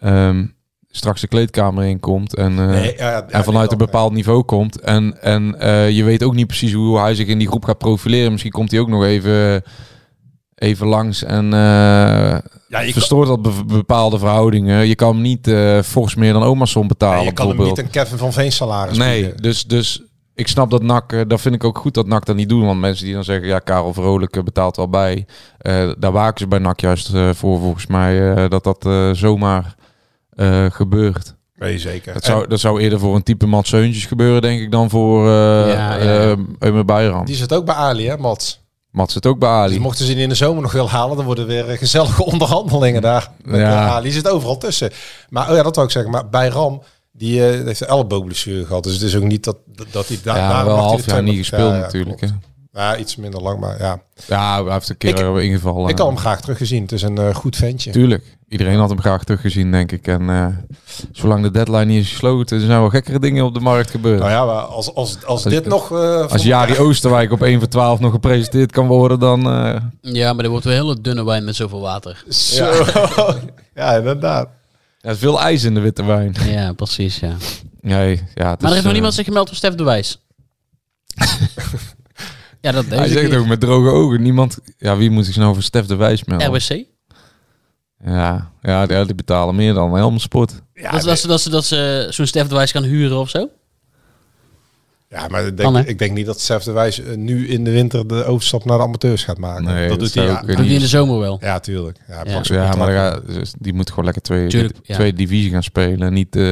Speaker 8: ehm, straks de kleedkamer inkomt en, eh,
Speaker 7: Nee, ja, ja, ja,
Speaker 8: en
Speaker 7: nee,
Speaker 8: vanuit
Speaker 7: dat,
Speaker 8: een bepaald niveau komt. En, en eh, je weet ook niet precies hoe hij zich in die groep gaat profileren. Misschien komt hij ook nog even, even langs en... eh,
Speaker 7: Ja, je kan-
Speaker 8: verstoort dat be- bepaalde verhoudingen. Je kan hem niet eh, fors meer dan Omerson betalen.
Speaker 7: Nee, je kan hem niet
Speaker 8: bijvoorbeeld.
Speaker 7: een Kevin van Veen salaris
Speaker 8: Nee,
Speaker 7: bieden.
Speaker 8: dus, dus ik snap dat NAC, eh, dat vind ik ook goed dat NAC dat niet doet. Want mensen die dan zeggen, ja, Karel Vrolijk eh, betaalt wel bij. Eh, daar waken ze bij NAC juist eh, voor, volgens mij, eh, dat dat eh, zomaar eh, gebeurt.
Speaker 7: Nee, zeker.
Speaker 8: Dat
Speaker 7: En
Speaker 8: zou, dat zou eerder voor een type Mats Zeuntjes gebeuren, denk ik, dan voor eh
Speaker 6: Ja, ja,
Speaker 8: eh
Speaker 6: ja.
Speaker 8: Eumer Bijram.
Speaker 7: die zit ook bij Ali, hè, Mats?
Speaker 8: Mats zit ook bij Ali.
Speaker 7: Dus mochten ze die in de zomer nog wel halen, dan worden er weer eh, gezellige *laughs* onderhandelingen daar. Met eh,
Speaker 8: Ja.
Speaker 7: ja. Ali zit overal tussen. Maar oh ja, dat wou ik zeggen. Maar bij Ram, Die eh, heeft een elleboogblessure gehad. Dus het is ook niet dat, dat hij daar...
Speaker 8: ja,
Speaker 7: daarom
Speaker 8: wel een
Speaker 7: mag hij de
Speaker 8: half jaar niet
Speaker 7: twee-
Speaker 8: gespeeld
Speaker 7: Ja, ja,
Speaker 8: natuurlijk. Hè?
Speaker 7: klopt. Ja, iets minder lang, maar ja.
Speaker 8: Ja, hij heeft een keer eh, ingevallen.
Speaker 7: Ik had hem graag teruggezien. Het is een eh, goed ventje.
Speaker 8: Tuurlijk. Iedereen had hem graag teruggezien, denk ik. En eh, zolang de deadline niet is gesloten, zijn wel gekkere dingen op de markt gebeurd.
Speaker 7: Nou ja, maar als, als, als, dit nog... eh, van-
Speaker 8: Als Jari Oosterwijk op 1 voor 12 nog gepresenteerd kan worden, dan... eh,
Speaker 6: Ja, maar er wordt wel een hele dunne wijn met zoveel water.
Speaker 7: Zo. ja, *laughs* inderdaad.
Speaker 8: er is veel ijs in de witte wijn.
Speaker 6: Ja, precies, ja. Dus,
Speaker 8: Nee, ja, het
Speaker 6: Maar er
Speaker 8: is,
Speaker 6: heeft nog
Speaker 8: eh,
Speaker 6: niemand zich gemeld voor Stef de
Speaker 7: *laughs*
Speaker 6: Wijs. ja, dat
Speaker 8: eh, Hij
Speaker 6: deze
Speaker 8: zegt ook
Speaker 6: keer.
Speaker 8: met droge ogen. Niemand... Ja, wie moet zich nou voor Stef de Wijs melden?
Speaker 6: RBC?
Speaker 8: Ja, ja, die- die betalen meer dan Helmsport.
Speaker 6: dat, dat, ze, dat, ze, dat ze zo'n Stef de Wijs kan huren of zo?
Speaker 7: Ja, maar ik
Speaker 6: Kan,
Speaker 7: denk,
Speaker 6: hè?
Speaker 7: ik denk niet dat Stef de Wijs eh, nu in de winter de overstap naar de amateurs gaat maken.
Speaker 8: Nee, dat
Speaker 7: doet
Speaker 8: zou
Speaker 7: hij
Speaker 8: ook,
Speaker 7: ja.
Speaker 8: eh,
Speaker 6: Doe die in de zomer wel.
Speaker 7: Ja, tuurlijk. Ja, hij
Speaker 6: Ja.
Speaker 7: pakt zijn
Speaker 8: Ja, maar
Speaker 7: contract.
Speaker 8: daar ga- dus die moet gewoon lekker twee,
Speaker 6: Tuurlijk, ja.
Speaker 8: twee divisie gaan spelen. Niet... eh,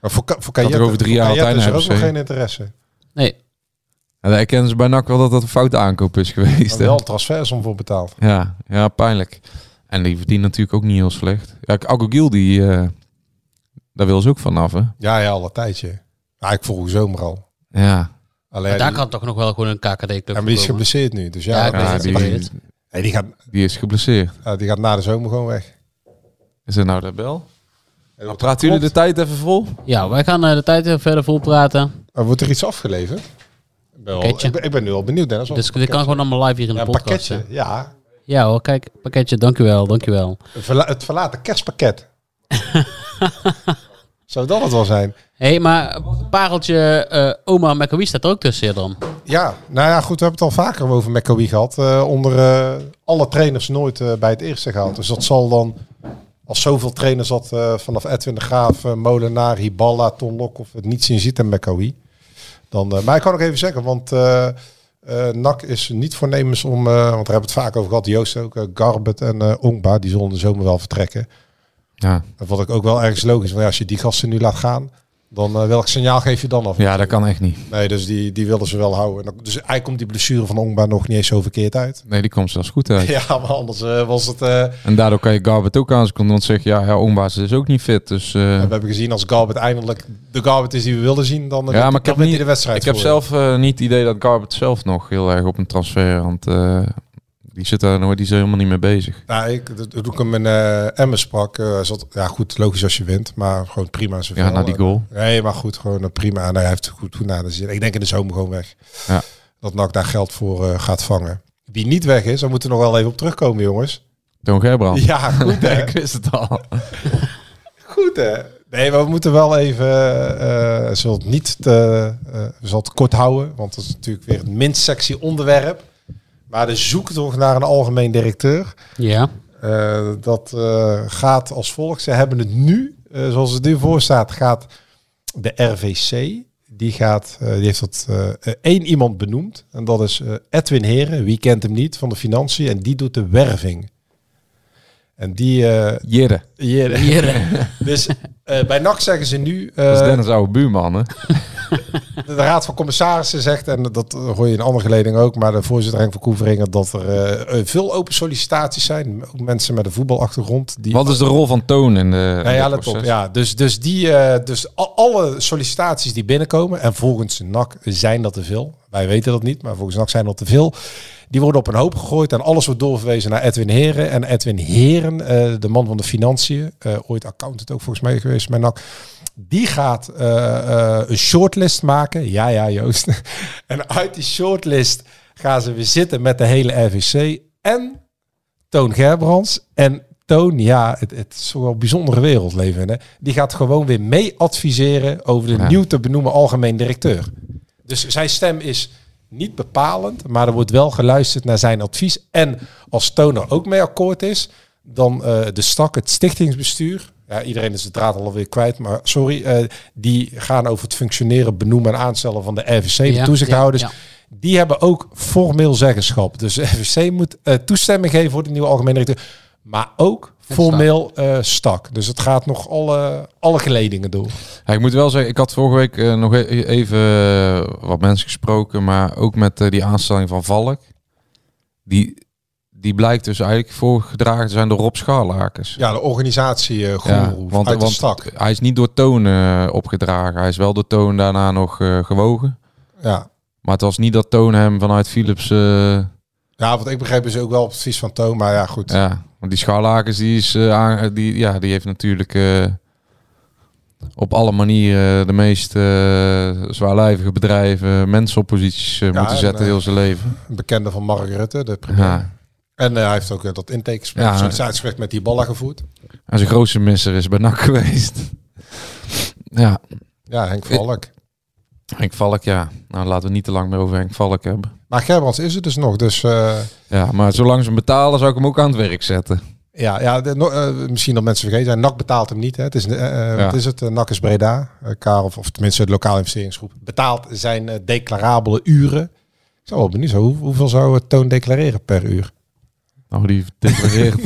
Speaker 7: Maar voor, Ka- voor
Speaker 8: er
Speaker 7: Kayette,
Speaker 8: over drie jaar
Speaker 7: voor Kayette is er ook
Speaker 8: altijd naar
Speaker 7: nog
Speaker 8: RBC.
Speaker 7: geen interesse.
Speaker 6: Nee.
Speaker 8: Ja, daar herkennen ze bij NAC wel dat dat een foute aankoop is geweest.
Speaker 7: Maar
Speaker 8: hè?
Speaker 7: wel transfers om voor betaald.
Speaker 8: Ja, ja, pijnlijk. En die verdient natuurlijk ook niet heel slecht. Ja, Agogil, die, eh, daar wil ze ook vanaf, hè?
Speaker 7: Ja, ja, al een tijdje. Ja, ik vroeg zomer al.
Speaker 8: Ja.
Speaker 7: Alleen,
Speaker 6: Maar daar
Speaker 7: die-
Speaker 6: kan toch nog wel gewoon een
Speaker 7: ja, maar
Speaker 6: KKD-club
Speaker 7: die is
Speaker 6: komen.
Speaker 7: geblesseerd nu. Dus
Speaker 6: Ja,
Speaker 7: ja,
Speaker 6: ik
Speaker 8: Ja,
Speaker 7: ja,
Speaker 6: weet het.
Speaker 8: die,
Speaker 7: die, gaat,
Speaker 8: die is geblesseerd.
Speaker 7: ja, die gaat na de zomer gewoon weg.
Speaker 8: Is er nou de bel?
Speaker 7: En
Speaker 8: Nou,
Speaker 7: wordt-
Speaker 8: praten jullie de tijd even vol?
Speaker 6: Ja, wij gaan eh, de tijd even verder volpraten.
Speaker 7: Maar wordt er iets afgeleverd? Ik ben, wel-
Speaker 6: Pakketje.
Speaker 7: ik ben, ik ben nu al benieuwd, Dennis. of
Speaker 6: Dus
Speaker 7: een
Speaker 6: dit kan gewoon allemaal live hier in de
Speaker 7: ja, een
Speaker 6: podcast.
Speaker 7: pakketje.
Speaker 6: hè.
Speaker 7: Ja,
Speaker 6: Ja hoor, kijk, pakketje, dankjewel, dankjewel.
Speaker 7: Een verla- het verlaten kerstpakket. Zou dat het wel zijn?
Speaker 6: Hé, hey, maar pareltje eh, oma McAwee staat er ook tussen dan.
Speaker 7: Ja, nou ja, goed, we hebben het al vaker over McAwee gehad. Eh, onder eh, alle trainers nooit eh, bij het eerste gehaald. Dus dat zal dan, als zoveel trainers dat eh, vanaf Edwin de Graaf, eh, Molenaar, Hiballa, Ton Lokhoff het niet zien zitten met McAwee. Dan, eh, maar ik kan ook even zeggen, want eh eh, NAC is niet voornemens om, eh, want daar hebben we het vaak over gehad, Joost ook, eh, Garbet en eh Ongba, die zullen de zomer wel vertrekken.
Speaker 8: Ja,
Speaker 7: En Wat ik ook wel ergens logisch vind, als je die gasten nu laat gaan, dan eh, welk signaal geef je dan af?
Speaker 8: ja dat kan echt niet.
Speaker 7: Nee, dus die, die wilden ze wel houden. En dan- Dus eigenlijk komt die blessure van Ongba nog niet eens zo verkeerd uit.
Speaker 8: Nee, die komt zelfs goed uit.
Speaker 7: Ja, maar anders eh, was het... eh,
Speaker 8: En daardoor kan je Garbert ook aanskondigen. Want zeg je, ja, ja Ongbaas is ook niet fit. Dus, eh,
Speaker 7: We hebben gezien als Garbert eindelijk de Garbert is die we wilden zien, dan, eh,
Speaker 8: ja,
Speaker 7: dan
Speaker 8: maar ik heb,
Speaker 7: wint
Speaker 8: niet,
Speaker 7: hij de wedstrijd
Speaker 8: ik heb
Speaker 7: voor.
Speaker 8: zelf eh, niet het idee dat Garbert zelf nog heel erg op een transfer... Want eh, die zit daar nooit, die is er helemaal niet mee bezig.
Speaker 7: Nou, ik, dat- toen ik hem in eh Emmen sprak, eh, hij zat, ja goed, logisch als je wint, maar gewoon prima. in zijn
Speaker 8: Ja,
Speaker 7: vel. eh,
Speaker 8: na die goal.
Speaker 7: Nee, maar goed, gewoon eh, prima. Nou, hij heeft het goed na de zin. Ik denk in de zomer gewoon weg.
Speaker 8: Ja.
Speaker 7: Dat NAC daar geld voor eh, gaat vangen. Wie niet weg is, daar moeten we nog wel even op terugkomen, jongens.
Speaker 8: Toon Gerbrand. *laughs*
Speaker 7: *laughs* Ja, goed hè.
Speaker 8: ik wist het al.
Speaker 7: Goed hè? Nee, maar we moeten wel even. eh eh, zullen het niet te, eh, we zullen het kort houden, want dat is natuurlijk weer het minst sexy onderwerp. Maar de zoektocht naar een algemeen directeur,
Speaker 6: Ja.
Speaker 7: eh, dat eh, gaat als volgt. Ze hebben het nu, eh, zoals het nu voor staat, gaat de RVC. Die, gaat, eh, die heeft dat eh, eh, één iemand benoemd. En dat is eh, Edwin Heren, wie kent hem niet, van de financiën. En die doet de werving. En die... eh
Speaker 8: Jere.
Speaker 7: Heren.
Speaker 6: Hier.
Speaker 7: *laughs* Dus eh, bij NAC zeggen ze nu, eh,
Speaker 8: Dat is Dennis' oude buurman, hè?
Speaker 7: de Raad van Commissarissen zegt, en dat hoor je in andere geledingen ook, maar de voorzitter Henk van Koeveringen, dat er eh, eh, veel open sollicitaties zijn. Ook mensen met een voetbalachtergrond. Die,
Speaker 8: Wat is de rol van Toon in de
Speaker 7: Nou
Speaker 8: in
Speaker 7: ja,
Speaker 8: dit
Speaker 7: let op.
Speaker 8: proces?
Speaker 7: Ja, dus, dus, die, eh, dus al- alle sollicitaties die binnenkomen, en volgens NAC zijn dat te veel. Wij weten dat niet, maar volgens NAC zijn dat te veel. Die worden op een hoop gegooid en alles wordt doorverwezen naar Edwin Heren. En Edwin Heren, eh, de man van de financiën, eh, ooit accountant ook volgens mij geweest bij NAC. Die gaat eh, eh, een shortlist maken. Ja, ja, Joost. *laughs* en uit die shortlist gaan ze weer zitten met de hele RVC en Toon Gerbrands. En Toon, ja, het, het is toch wel een bijzondere wereld leven. in, Hè? Die gaat gewoon weer mee adviseren over de
Speaker 8: Ja.
Speaker 7: nieuw te benoemen algemeen directeur. Dus zijn stem is niet bepalend, maar er wordt wel geluisterd naar zijn advies. En als Toon er ook mee akkoord is, dan eh, de stak, het stichtingsbestuur. Ja, iedereen is de draad alweer kwijt, maar sorry. eh, die gaan over het functioneren, benoemen en aanstellen van de RVC, de
Speaker 6: Ja,
Speaker 7: toezichthouders.
Speaker 6: ja, ja.
Speaker 7: Die hebben ook formeel zeggenschap. Dus *laughs* de RVC moet eh, toestemming geven voor de nieuwe algemene directeur. Maar ook formeel eh, stak. Dus het gaat nog alle, alle geledingen door.
Speaker 8: Ja, ik moet wel zeggen, ik had vorige week eh, nog e- even eh, wat mensen gesproken, maar ook met eh, die aanstelling van Valk. Die, die blijkt dus eigenlijk voorgedragen te zijn door Rob Scharlakers.
Speaker 7: Ja, de organisatie eh
Speaker 8: Ja,
Speaker 7: Groenroef uit de stak.
Speaker 8: hij is niet door Toon eh, opgedragen. Hij is wel door Toon daarna nog eh, gewogen.
Speaker 7: Ja.
Speaker 8: Maar het was niet dat Toon hem vanuit Philips... eh,
Speaker 7: ja, wat ik begreep is ook wel op advies van Toon. Maar ja, goed.
Speaker 8: ja, want die Scharlakers die is, eh, aan- die, ja, die heeft natuurlijk eh, op alle manieren de meest eh, zwaarlijvige bedrijven mensen op posities eh,
Speaker 7: Ja,
Speaker 8: moeten
Speaker 7: en,
Speaker 8: zetten
Speaker 7: eh,
Speaker 8: heel zijn leven.
Speaker 7: Een bekende van Mark Rutte, de premier.
Speaker 8: Ja.
Speaker 7: En eh, hij heeft ook eh, dat intakegesprek,
Speaker 8: Ja.
Speaker 7: ja, gesprek met die ballen gevoerd.
Speaker 8: En zijn grootste misser is bij NAC geweest. ja,
Speaker 7: Ja, Henk Valk.
Speaker 8: Henk Valk, ja. Nou, laten we niet te lang meer over Henk Valk hebben.
Speaker 7: Maar Gerbrands is het dus nog. Dus eh,
Speaker 8: Ja, maar zolang ze hem betalen, zou ik hem ook aan het werk zetten.
Speaker 7: ja, ja de- no- eh, misschien dat mensen vergeten zijn. NAC betaalt hem niet. Hè. Het is, eh, eh,
Speaker 8: Ja.
Speaker 7: wat is het? Eh, NAC is Breda. Eh, Karel, of tenminste de lokale investeringsgroep, betaalt zijn eh, declarabele uren. Ik zou wel benieuwd zijn, hoe, hoeveel zou het Toon declareren per uur?
Speaker 8: Nou, die declareert,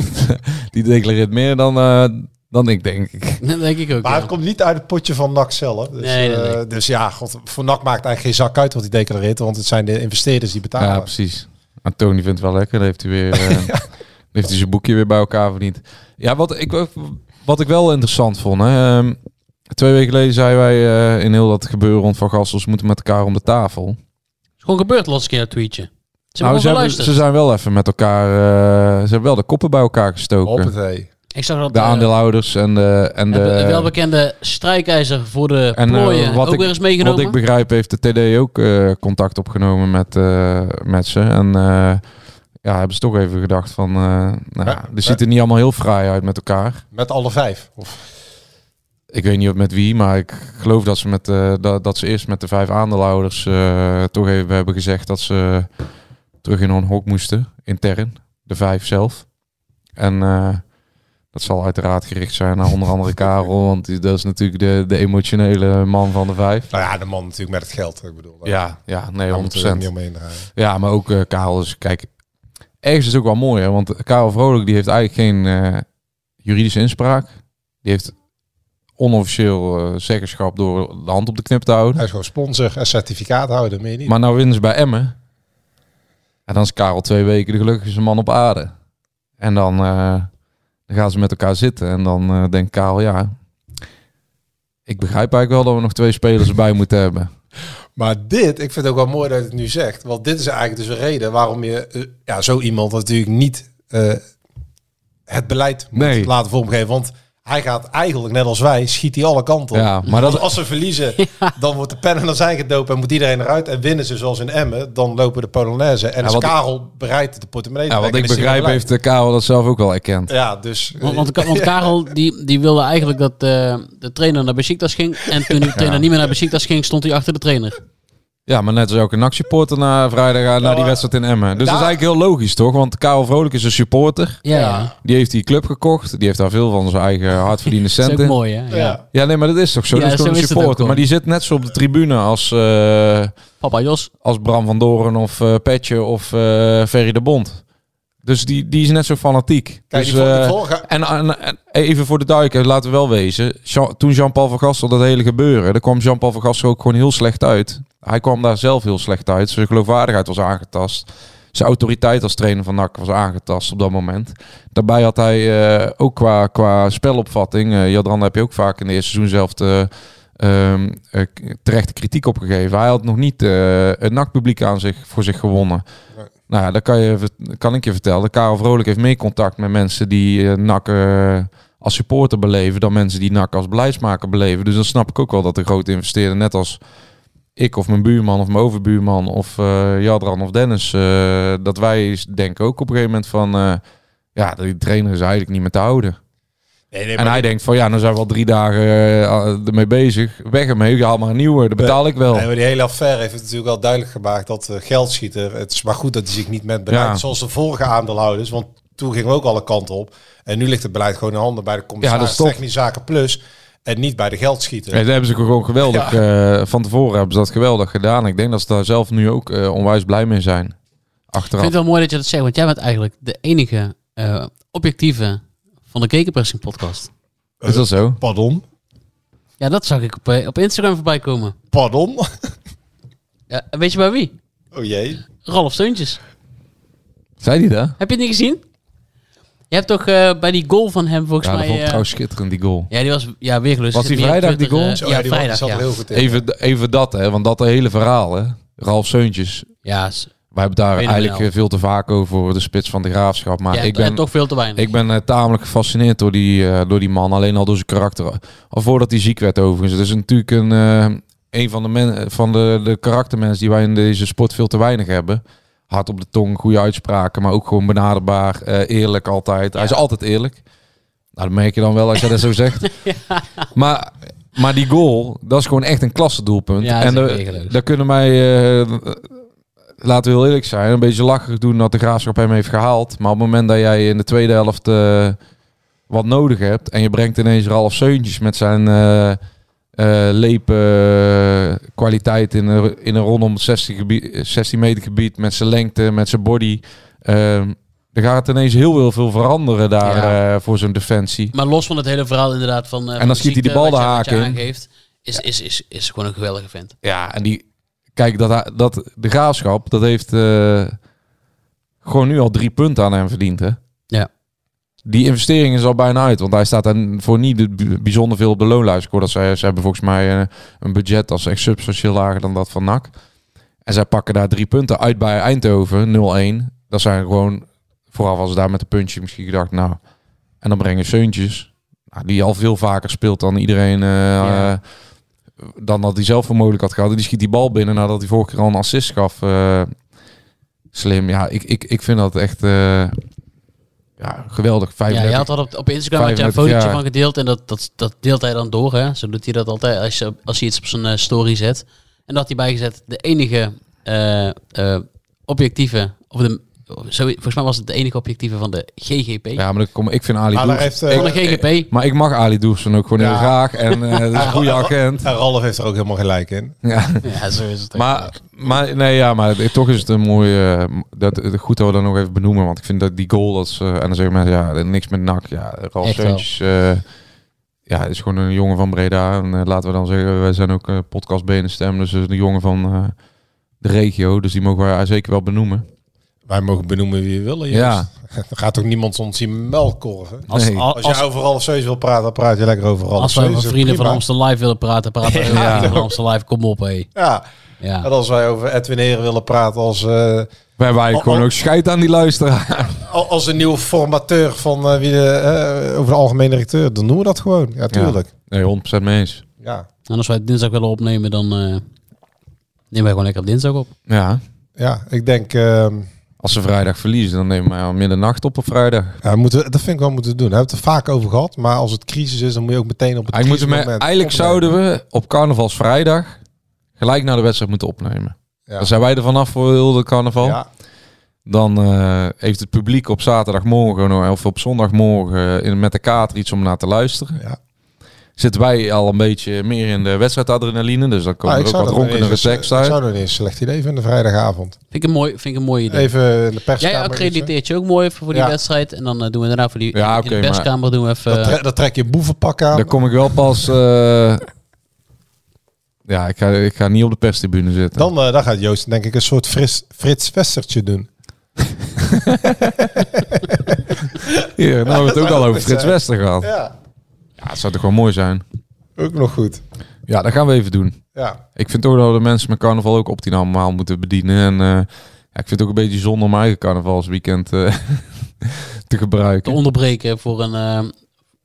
Speaker 8: die declareert meer dan, eh, dan ik, denk ik.
Speaker 6: *laughs* Dat denk ik ook.
Speaker 7: Maar
Speaker 6: ja.
Speaker 7: het komt niet uit het potje van NAC zelf. Dus,
Speaker 6: Nee, nee, nee.
Speaker 7: eh, dus ja, god, voor NAC maakt eigenlijk geen zak uit wat hij declareert. Want het zijn de investeerders die betalen.
Speaker 8: Ja, precies. En Tony vindt het wel lekker. Dan heeft hij weer eh, dan heeft hij zijn boekje weer bij elkaar verdiend. Ja, wat ik, ook- wat ik wel interessant vond. Hè, ehm, twee weken geleden zeiden wij eh, in heel dat gebeuren rond Van Gassels moeten met elkaar om de tafel.
Speaker 6: is gewoon gebeurd laatste keer dat tweetje. Ze hebben
Speaker 8: Nou,
Speaker 6: ons
Speaker 8: ze, hebben- ze
Speaker 6: geluisterd.
Speaker 8: zijn wel even met elkaar. eh, ze hebben wel de koppen bij elkaar gestoken.
Speaker 7: Hoppatee.
Speaker 6: ik zag dat
Speaker 8: De
Speaker 6: eh,
Speaker 8: aandeelhouders en de. En de
Speaker 6: hebben de welbekende strijkijzer voor de
Speaker 8: en, eh,
Speaker 6: plooien ook
Speaker 8: ik,
Speaker 6: weer eens meegenomen.
Speaker 8: Wat ik begrijp heeft de TD ook eh, contact opgenomen met, eh, met ze. En eh, ja, hebben ze toch even gedacht van... eh nou,
Speaker 7: Ja,
Speaker 8: dit ziet er niet allemaal heel fraai uit met elkaar.
Speaker 7: Met alle vijf. Of,
Speaker 8: Ik weet niet of met wie, maar ik geloof dat ze, met, eh, dat, dat ze eerst met de vijf aandeelhouders... eh, toch even hebben gezegd dat ze terug in hun hok moesten, intern. De vijf zelf. En... eh, dat zal uiteraard gericht zijn naar onder andere Karel, want die- dat is natuurlijk de, de emotionele man van de vijf.
Speaker 7: nou ja, de man natuurlijk met het geld. Ik bedoel, daar-
Speaker 8: Ja, ja, nee,
Speaker 7: daar
Speaker 8: 100%.
Speaker 7: moeten we niet omheen draaien.
Speaker 8: Ja, maar ook eh Karel is, kijk, ergens is het ook wel mooi, hè, want Karel Vrolijk die heeft eigenlijk geen eh, juridische inspraak. Die heeft onofficieel eh, zeggenschap door de hand op de knip te houden.
Speaker 7: Hij is gewoon sponsor en certificaat houden, meer niet.
Speaker 8: Maar nou winnen ze bij Emmen. En dan is Karel twee weken de gelukkigste man op aarde. En dan, eh, dan gaan ze met elkaar zitten. En dan eh, denkt Karel, ja, ik begrijp eigenlijk wel dat we nog twee spelers erbij moeten hebben.
Speaker 7: Maar dit, ik vind het ook wel mooi dat je het nu zegt. Want dit is eigenlijk dus een reden waarom je eh, ja, zo iemand natuurlijk niet eh, het beleid moet
Speaker 8: Nee.
Speaker 7: laten vormgeven. Want hij gaat eigenlijk, net als wij, schiet hij alle kanten op.
Speaker 8: Ja, maar dat-
Speaker 7: Want als
Speaker 8: *laughs*
Speaker 7: ze verliezen, dan wordt de pennen naar zijn gedopen en moet iedereen eruit. En winnen ze zoals in Emmen, dan lopen de Polonaise. En
Speaker 8: Ja,
Speaker 7: is
Speaker 8: wat-
Speaker 7: Karel bereidt de portemonnee. te
Speaker 8: Ja, wat
Speaker 7: trekken,
Speaker 8: ik
Speaker 7: dan is hij
Speaker 8: begrijp heeft
Speaker 7: weer
Speaker 8: eh, Karel dat zelf ook wel erkend.
Speaker 7: blij. Ja, dus... eh,
Speaker 6: Want, want,
Speaker 8: *laughs*
Speaker 7: *laughs*
Speaker 6: want Karel die, die wilde eigenlijk dat eh, de trainer naar Besiktas ging. En toen
Speaker 8: *laughs*
Speaker 6: die trainer niet meer naar Besiktas ging, stond hij achter de trainer.
Speaker 8: Ja, maar net als elke NAC-supporter na vrijdag eh, naar die
Speaker 7: maar-
Speaker 8: wedstrijd in Emmen. Dus dat
Speaker 7: Daar-
Speaker 8: is eigenlijk heel logisch, toch? Want Karel Vrolijk is een supporter.
Speaker 6: Ja, ja.
Speaker 8: Die heeft die club gekocht. Die heeft daar veel van zijn eigen hardverdiende
Speaker 6: *laughs* dat is
Speaker 8: centen.
Speaker 6: ook mooi hè. Ja.
Speaker 7: ja.
Speaker 8: Ja, nee, maar dat is toch zo?
Speaker 6: Ja,
Speaker 8: dat is
Speaker 6: zo
Speaker 8: gewoon een
Speaker 6: is het ook
Speaker 8: supporter.
Speaker 6: gewoon.
Speaker 8: Maar die zit net zo op de tribune als, eh,
Speaker 6: Papa Jos,
Speaker 8: als Bram van Doren of eh Petje of eh, Ferry de Bond. Dus die, die is net zo fanatiek.
Speaker 7: Kijk,
Speaker 8: dus,
Speaker 7: die vol- die
Speaker 8: eh,
Speaker 7: volga-
Speaker 8: en, en- en even voor de duik, eh, laten we wel wezen. Jean- toen Jean-Paul van Gastel dat hele gebeuren, daar kwam Jean-Paul van Gastel ook gewoon heel slecht uit. Hij kwam daar zelf heel slecht uit. Zijn geloofwaardigheid was aangetast. Zijn autoriteit als trainer van NAC was aangetast op dat moment. Daarbij had hij eh, ook qua, qua spelopvatting, eh Jadran heb je ook vaak in de eerste seizoen zelf de, ehm, eh, k- terechte kritiek opgegeven. Hij had nog niet eh het NAC-publiek aan zich, voor zich gewonnen. Nou ja, dat kan, je, ver- kan ik je vertellen. Karel Vrolijk heeft meer contact met mensen die eh, NAC eh, als supporter beleven... dan mensen die NAC als beleidsmaker beleven. Dus dan snap ik ook wel dat de grote investeerder... net als ik of mijn buurman of mijn overbuurman of eh, Jadran of Dennis... eh, dat wij s- denken ook op een gegeven moment van... eh, ja, die trainer is eigenlijk niet meer te houden.
Speaker 7: Nee, nee, maar-
Speaker 8: En hij denkt van ja, dan zijn we al drie dagen eh, ermee bezig. Weg ermee, haal maar een nieuwe. Dat betaal ik wel.
Speaker 7: Nee, maar die hele affaire heeft het natuurlijk wel duidelijk gemaakt dat eh, geldschieter. Het is maar goed dat hij zich niet met beleid,
Speaker 8: Ja.
Speaker 7: zoals de vorige aandeelhouders. Want toen gingen we ook alle kanten op. En nu ligt het beleid gewoon in handen bij de
Speaker 8: Ja, dat
Speaker 7: commissaris
Speaker 8: is top.
Speaker 7: Technische Zaken Plus. En niet bij de geldschieter.
Speaker 8: Ja, dat hebben ze gewoon geweldig. eh, van tevoren hebben ze dat geweldig gedaan. Ik denk dat ze daar zelf nu ook eh, onwijs blij mee zijn.
Speaker 6: ik
Speaker 8: Achteraf.
Speaker 6: vind het wel mooi dat je dat zegt. Want jij bent eigenlijk de enige eh, objectieve van de Kekenpressing podcast.
Speaker 8: Is dat zo?
Speaker 7: Pardon?
Speaker 6: Ja, dat zag ik op, eh, op Instagram voorbij komen.
Speaker 7: Pardon? *laughs*
Speaker 6: Ja, en weet je bij wie?
Speaker 7: Oh jee.
Speaker 6: Ralf Steuntjes.
Speaker 8: Zei die dat?
Speaker 6: Heb je het niet gezien? Je hebt toch eh, bij die goal van hem volgens
Speaker 8: Ja, dat
Speaker 6: mij...
Speaker 8: vond ik
Speaker 6: eh,
Speaker 8: trouwens schitterend, die goal.
Speaker 6: ja, die was ja, weer gelust.
Speaker 8: Was
Speaker 6: Zit
Speaker 8: die
Speaker 6: meer op
Speaker 8: vrijdag die
Speaker 6: Twitter,
Speaker 8: goal?
Speaker 6: eh,
Speaker 7: Zo,
Speaker 6: ja,
Speaker 7: die- die
Speaker 6: vrijdag.
Speaker 7: zat er
Speaker 6: Ja,
Speaker 7: heel goed in.
Speaker 8: Even, even dat, hè, want dat hele verhaal, hè. Ralf Seuntjes.
Speaker 6: ja s-
Speaker 8: Wij hebben daar
Speaker 6: Fenomenaal.
Speaker 8: eigenlijk eh, veel te vaak over, over de spits van de graafschap. Maar
Speaker 6: ja,
Speaker 8: ik
Speaker 6: ik
Speaker 8: ben,
Speaker 6: toch veel te weinig.
Speaker 8: ik ben eh, tamelijk gefascineerd door die, eh, door die man. Alleen al door zijn karakter. Al voordat hij ziek werd, overigens. Het is natuurlijk een, eh, een van, de, men, van de, de karaktermensen die wij in deze sport veel te weinig hebben. Hard op de tong, goede uitspraken, maar ook gewoon benaderbaar, eh, eerlijk altijd. Hij is altijd eerlijk. Nou, dat merk je dan wel als je dat zo
Speaker 6: *laughs*
Speaker 8: zegt. Maar, maar die goal, dat is gewoon echt een klasse doelpunt.
Speaker 6: Ja,
Speaker 8: en
Speaker 6: dat is
Speaker 8: daar-
Speaker 6: echt leuk.
Speaker 8: daar kunnen wij, eh, laten we heel eerlijk zijn, een beetje lacherig doen dat de Graafschap hem heeft gehaald. Maar op het moment dat jij in de tweede helft eh, wat nodig hebt en je brengt ineens Ralf Seuntjes met zijn eh eh, lepen eh, kwaliteit in een, in een rondom het 16, gebied, 16 meter gebied, met zijn lengte, met zijn body... ehm er gaat ineens heel, heel veel veranderen daar
Speaker 6: Ja.
Speaker 8: eh, voor zo'n defensie.
Speaker 6: Maar los van het hele verhaal inderdaad van... eh, van
Speaker 8: dan
Speaker 6: de
Speaker 8: schiet hij
Speaker 6: ziekte,
Speaker 8: die bal
Speaker 6: wat
Speaker 8: de
Speaker 6: je-
Speaker 8: haak
Speaker 6: wat je
Speaker 8: in.
Speaker 6: aangeeft, Is, is, is, is gewoon een geweldige vent.
Speaker 8: Ja, en die. Kijk, dat, hij- dat, de graafschap, dat heeft eh, gewoon nu al drie punten aan hem verdiend. Hè?
Speaker 6: Ja.
Speaker 8: Die investering is al bijna uit, want hij staat daar voor niet b- bijzonder veel op de loonlijst. Ik hoor dat zij, ze hebben volgens mij eh, een budget als echt substantieel lager dan dat van NAC. En zij pakken daar drie punten uit bij Eindhoven, 0-1. Dat zijn gewoon, vooraf was daar met een puntje misschien gedacht, nou. En dan brengen Seuntjes, nou, die al veel vaker speelt dan iedereen eh,
Speaker 6: Ja.
Speaker 8: eh, dan dat hij zelf voor mogelijk had gehad. En die schiet die bal binnen nadat hij vorige keer al een assist gaf. eh, slim. Ja, ik, ik, ik vind dat echt eh, ja, geweldig.
Speaker 6: Ja,
Speaker 8: 35.
Speaker 6: je had dat op, op Instagram had je een
Speaker 8: 35
Speaker 6: fotootje
Speaker 8: jaar.
Speaker 6: van gedeeld en dat, dat, dat deelt hij dan door. Hè? Zo doet hij dat altijd als, je- als hij iets op zijn eh, story zet. En dat hij bijgezet de enige eh, eh, objectieve, of de, zo, volgens mij was het de enige objectieve van de GGP.
Speaker 8: ja, maar dan kom, ik vind Ali
Speaker 7: Maar daar
Speaker 8: Doersen...
Speaker 7: heeft, eh,
Speaker 6: Van de GGP.
Speaker 8: Maar ik mag Ali Doersen ook gewoon heel
Speaker 7: Ja.
Speaker 8: graag. En eh, dat is een
Speaker 7: *laughs*
Speaker 8: goede agent.
Speaker 7: en Ralf heeft er ook helemaal gelijk in.
Speaker 8: Ja.
Speaker 6: Ja, zo is het. ook.
Speaker 8: Maar, maar, nee, ja, maar het- toch is het een mooie... eh, Dat, het- goed dat we dat nog even benoemen. Want ik vind dat die goal... Dat ze, en dan zeggen mensen, ja, niks met NAC. Ja, Ralf
Speaker 6: Echt wel.
Speaker 8: Seuntjes... eh, ja, is gewoon een jongen van Breda. En eh, laten we dan zeggen, wij zijn ook eh, podcast Benenstem. Dus een jongen van eh, de regio. Dus die mogen wij zeker wel benoemen.
Speaker 7: Wij mogen benoemen wie we willen.
Speaker 8: Ja.
Speaker 7: Ja. *laughs* Er gaat ook niemand ons zien melkorven.
Speaker 6: als,
Speaker 8: nee.
Speaker 6: al-
Speaker 7: Als,
Speaker 6: als,
Speaker 7: jij over Ralf Seus wil praten, dan praat je lekker over Ralf
Speaker 6: als we
Speaker 7: Seus.
Speaker 6: over
Speaker 7: Dat is
Speaker 6: vrienden van
Speaker 7: prima.
Speaker 6: Amstel Live willen praten, praten we over
Speaker 8: Ja.
Speaker 6: vrienden van Amstel Live. Kom op, hé.
Speaker 7: Ja, en
Speaker 6: Ja.
Speaker 7: als wij over Edwin Heren willen praten als, eh,
Speaker 8: Wij hebben eigenlijk
Speaker 7: Oh,
Speaker 8: gewoon
Speaker 7: oh.
Speaker 8: ook scheid aan die luisteraar.
Speaker 7: al- als een nieuwe formateur van eh, wie de, eh, over de algemene directeur, dan doen we dat gewoon. Ja, tuurlijk.
Speaker 8: Nee, 100% mee eens.
Speaker 7: Ja,
Speaker 6: En als wij het dinsdag willen opnemen, dan eh, nemen wij gewoon lekker op dinsdag op.
Speaker 8: Ja.
Speaker 7: ja. ik denk, ehm,
Speaker 8: Als ze vrijdag verliezen, dan nemen wij al middernacht op op vrijdag.
Speaker 7: ja, moeten, we- dat vind ik wel moeten doen. We hebben het er vaak over gehad, maar als het crisis is, dan moet je ook meteen op het
Speaker 8: Eigenlijk, moeten we-
Speaker 7: crisismoment
Speaker 8: e- eigenlijk
Speaker 7: opnemen.
Speaker 8: zouden we op carnavalsvrijdag gelijk naar de wedstrijd moeten opnemen.
Speaker 7: Ja.
Speaker 8: Dan zijn wij er vanaf voor heel de carnaval.
Speaker 7: Ja.
Speaker 8: Dan eh, heeft het publiek op zaterdagmorgen of op zondagmorgen eh, in, met de kater iets om naar te luisteren.
Speaker 7: Ja.
Speaker 8: Zitten wij al een beetje meer in de wedstrijdadrenaline, dus dan komen
Speaker 7: Ah,
Speaker 8: er ook wat
Speaker 7: dat wel
Speaker 8: dronkenere
Speaker 7: eens-
Speaker 8: seks
Speaker 7: Ik
Speaker 8: uit.
Speaker 7: zou dat niet eens een slecht idee vinden, vrijdagavond.
Speaker 6: Vind ik een mooi, vind ik een mooi idee.
Speaker 7: Even in de perskamer.
Speaker 6: Jij
Speaker 7: iets, hè?
Speaker 6: accrediteert je ook mooi even voor die
Speaker 7: Ja.
Speaker 6: wedstrijd. En dan eh, doen we daarna voor die
Speaker 8: Ja,
Speaker 6: in
Speaker 8: oké,
Speaker 6: de
Speaker 8: maar-
Speaker 6: perskamer doen we even... eh,
Speaker 7: Dat, tre- dat trek je boevenpak aan.
Speaker 8: eh. Daar kom ik wel pas... eh, *laughs* ja, ik ga, ik ga niet op de perstribune zitten.
Speaker 7: Dan, eh, dan gaat Joost denk ik een soort fris, Frits Vestertje doen.
Speaker 8: Hier, nou hebben
Speaker 7: *laughs*
Speaker 8: we het ook al over Frits
Speaker 7: zijn.
Speaker 8: Wester gehad.
Speaker 7: Ja,
Speaker 8: Ja, het zou toch wel mooi zijn.
Speaker 7: ook nog goed.
Speaker 8: Ja, dat gaan we even doen.
Speaker 7: Ja,
Speaker 8: Ik vind ook dat we de mensen met carnaval ook optimaal allemaal moeten bedienen. En eh, ja, ik vind het ook een beetje zonde om mijn eigen carnavalsweekend eh, *laughs* te
Speaker 6: te
Speaker 8: gebruiken.
Speaker 6: onderbreken voor een, eh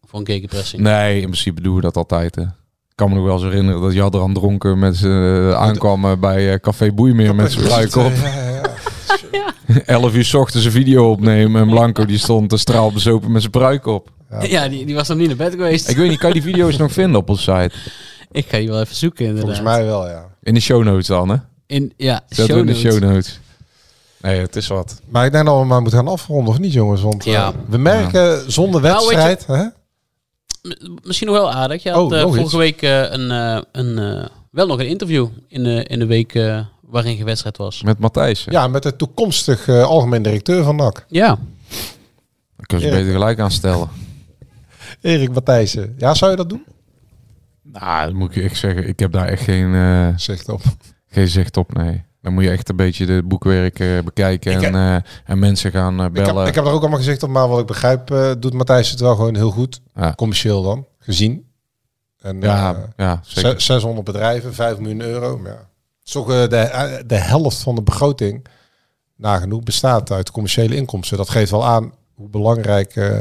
Speaker 6: voor een kekenpressing.
Speaker 8: Nee, in principe doen we dat altijd. Hè. Ik kan me nog wel eens herinneren dat Jadran dronken met z'n, eh, aankwam eh, bij eh, Café Boeimeer met zijn pruik
Speaker 6: *laughs*
Speaker 8: op.
Speaker 7: Ja, ja, ja.
Speaker 8: 11 uur 's ochtends een video opnemen en Blanco die stond te straalbezopen met zijn pruik op.
Speaker 6: *laughs* Ja, die, die was nog niet naar bed geweest.
Speaker 8: Ik
Speaker 6: Ik,
Speaker 8: weet niet, kan je die video's nog vinden op onze site?
Speaker 6: ga die wel even zoeken inderdaad.
Speaker 7: Volgens mij wel, ja.
Speaker 8: In de show notes dan, hè?
Speaker 6: In, ja,
Speaker 8: Zet
Speaker 6: show
Speaker 8: in de
Speaker 6: notes.
Speaker 8: show notes. Nee, het is wat.
Speaker 7: Maar ik denk dat we maar moeten gaan afronden, of niet jongens? Want eh,
Speaker 6: Ja.
Speaker 7: we merken zonder
Speaker 6: Nou, weet je-
Speaker 7: wedstrijd... hè?
Speaker 6: M- Misschien nog wel aardig. Je had
Speaker 7: Oh,
Speaker 6: eh,
Speaker 7: nog iets.
Speaker 6: vorige week eh, een, eh, een, eh, wel nog een interview in, de in de week eh, waarin je wedstrijd was.
Speaker 8: Met Matthijs. Ja.
Speaker 7: Ja, met de toekomstig eh, algemeen directeur van NAC.
Speaker 6: Ja,
Speaker 8: Dan kun je ze beter gelijk aanstellen.
Speaker 7: Erik Matthijssen. Ja, zou je dat doen?
Speaker 8: Nou, dat moet ik echt zeggen. Ik heb daar echt geen, eh,
Speaker 7: Zegt op.
Speaker 8: geen zicht op, nee. Dan moet je echt een beetje de boekwerk eh, bekijken
Speaker 7: Ik
Speaker 8: en,
Speaker 7: heb-
Speaker 8: eh, en mensen gaan eh,
Speaker 7: Ik heb,
Speaker 8: bellen.
Speaker 7: ik heb er ook allemaal gezegd op, maar wat ik begrijp eh, doet Matthijs het wel gewoon heel goed.
Speaker 8: Ja.
Speaker 7: Commercieel dan, gezien. En,
Speaker 8: ja,
Speaker 7: eh,
Speaker 8: ja,
Speaker 7: ze-
Speaker 8: zeker.
Speaker 7: 600 bedrijven, 5 miljoen euro. maar Ja. Het is toch eh, de, eh, de helft van de begroting nagenoeg bestaat uit commerciële inkomsten. Dat geeft wel aan hoe belangrijk eh,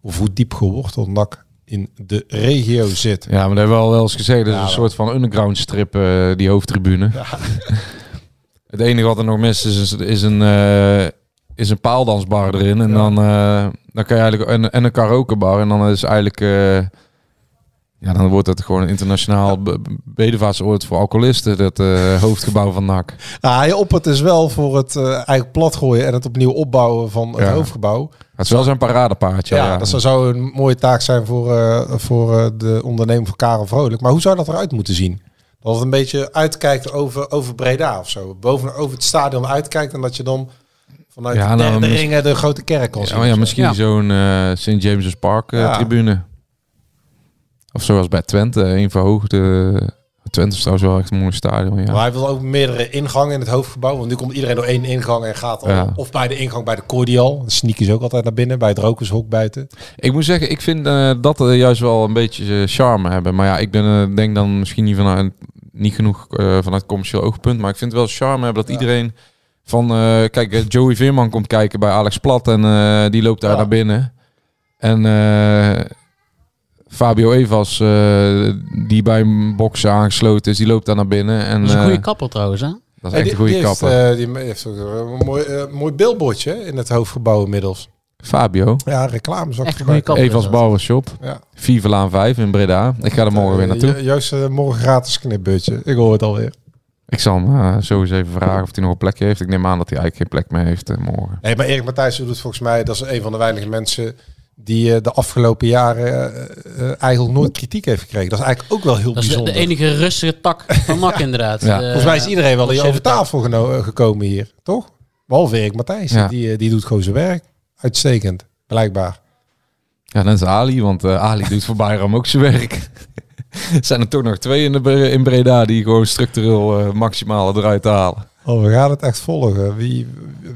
Speaker 7: of hoe diep geworteld NAC in de regio zit.
Speaker 8: Ja, maar dat hebben we al wel eens gezegd. Dat is
Speaker 7: Ja,
Speaker 8: een
Speaker 7: wel.
Speaker 8: soort van underground strip, eh, die hoofdtribune. *laughs* het enige wat er nog mist is, is, is een, eh, is een paaldansbar erin. En dan, eh, dan kan je eigenlijk en, en een karaokebar. En dan is eigenlijk. eh, ja, dan wordt het gewoon een internationaal be- be- bedevaartsoord voor alcoholisten. Dat eh, hoofdgebouw van NAC.
Speaker 7: Nou, hij oppert dus wel voor het eh eigenlijk platgooien en het opnieuw opbouwen van het
Speaker 8: Ja.
Speaker 7: hoofdgebouw.
Speaker 8: Het is wel zijn paradepaardje.
Speaker 7: Ja,
Speaker 8: ja.
Speaker 7: dat zou- zou een mooie taak zijn voor, eh, voor eh, de ondernemer van Karel Vrolijk. Maar hoe zou dat eruit moeten zien? Dat het een beetje uitkijkt over, over Breda of zo. Boven over het stadion uitkijkt en dat je dan vanuit
Speaker 8: Ja,
Speaker 7: de
Speaker 8: nou,
Speaker 7: derde
Speaker 8: mis-
Speaker 7: ringen de grote kerk kan zien.
Speaker 8: Oh Ja, maar ja, misschien
Speaker 6: Ja.
Speaker 8: zo'n eh, St. James's Park eh,
Speaker 7: Ja.
Speaker 8: tribune. Of zoals bij Twente, een verhoogde... Twente is trouwens wel echt een mooi stadion, ja.
Speaker 7: Maar hij wil ook meerdere ingangen in het hoofdgebouw. Want nu komt iedereen door één ingang en gaat al.
Speaker 8: Ja.
Speaker 7: Of bij de ingang bij de Cordial. Dan sneaken ze ook altijd naar binnen. Bij het rokershok buiten.
Speaker 8: Ik moet zeggen, ik vind eh, dat eh, juist wel een beetje eh, charme hebben. Maar ja, ik ben, eh, denk dan misschien niet, vanuit, niet genoeg eh, vanuit commercieel oogpunt. Maar ik vind het wel charme hebben dat iedereen van... eh, kijk, eh, Joey Veerman komt kijken bij Alex Plat en eh, die loopt daar
Speaker 7: Ja.
Speaker 8: naar binnen. En eh, Fabio Evas, eh, die bij Boxen aangesloten is, die loopt daar naar binnen. En,
Speaker 6: Dat is een
Speaker 8: eh,
Speaker 6: goede kapper trouwens, hè?
Speaker 8: dat is echt
Speaker 7: Hey,
Speaker 8: een
Speaker 7: die-
Speaker 8: goede
Speaker 7: die heeft,
Speaker 8: kapper.
Speaker 7: eh, die heeft ook een mooi, eh, mooi billboardje in het hoofdgebouw inmiddels.
Speaker 8: Fabio,
Speaker 7: Ja, reclame zou ik
Speaker 6: Echt een goede
Speaker 7: gebruiken.
Speaker 6: kapper. is
Speaker 8: Evas
Speaker 6: dat.
Speaker 8: Barbershop,
Speaker 7: eh, Ja.
Speaker 8: Vivelaan 5 in Breda. Ik ga er morgen weer naartoe.
Speaker 7: Eh, ju- Juist eh, morgen gratis knipbeurtje. Ik hoor het alweer.
Speaker 8: Ik zal hem eh, sowieso even vragen of hij nog een plekje heeft. Ik neem aan dat hij eigenlijk geen plek meer heeft eh, morgen.
Speaker 7: Nee, maar Erik Matthijs doet het volgens mij. Dat is een van de weinige mensen die eh, de afgelopen jaren eh, eh, eigenlijk nooit kritiek heeft gekregen. Dat is eigenlijk ook wel heel
Speaker 6: Dat is de-
Speaker 7: bijzonder.
Speaker 6: de enige rustige tak van
Speaker 8: *laughs*
Speaker 6: NAC inderdaad. Eh,
Speaker 8: Ja.
Speaker 6: De-
Speaker 7: volgens mij is iedereen wel hier
Speaker 6: officiële
Speaker 7: over tafel geno- eh, gekomen hier, toch? Behalve Erik Matthijs.
Speaker 8: Ja.
Speaker 7: Die, eh, die doet gewoon zijn werk. Uitstekend, blijkbaar.
Speaker 8: Ja, net als Ali, want eh, Ali doet voor Bayram ook zijn werk. *laughs* Zijn er toch nog twee in, de, Bre- in Breda die gewoon structureel eh, maximale eruit halen.
Speaker 7: Oh, we gaan het echt volgen. Wie,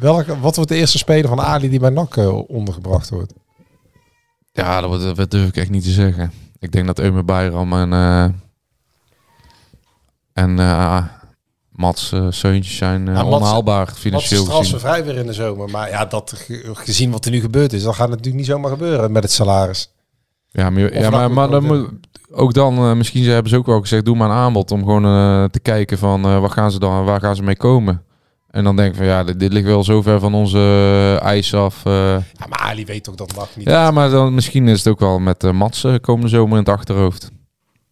Speaker 7: welke, wat wordt de eerste speler van Ali die bij NAC eh, ondergebracht wordt?
Speaker 8: Ja, dat, wordt- dat durf ik echt niet te zeggen. Ik denk dat Eumer Bayram en, eh, en eh, Mats eh, Seuntjes zijn eh,
Speaker 7: Ja, Mats-
Speaker 8: onhaalbaar financieel
Speaker 7: Wat is
Speaker 8: gezien.
Speaker 7: transfervrij weer in de zomer? Maar ja, dat ge- gezien wat er nu gebeurd is, dan gaat het natuurlijk niet zomaar gebeuren met het salaris.
Speaker 8: Ja, maar, ja,
Speaker 7: Of
Speaker 8: maar,
Speaker 7: dat
Speaker 8: maar dan
Speaker 7: moet-
Speaker 8: moet, ook dan, eh, misschien ze hebben ze ook wel gezegd, doe maar een aanbod om gewoon eh, te kijken van eh, waar gaan ze dan, waar gaan ze mee komen. En dan denk ik van ja, dit, dit ligt wel zo ver van onze eh, eis af. eh.
Speaker 7: Ja, maar Ali weet ook dat mag niet. Ja,
Speaker 8: ja, maar dan misschien is het ook wel met eh, Mats eh, komende zomer in het achterhoofd.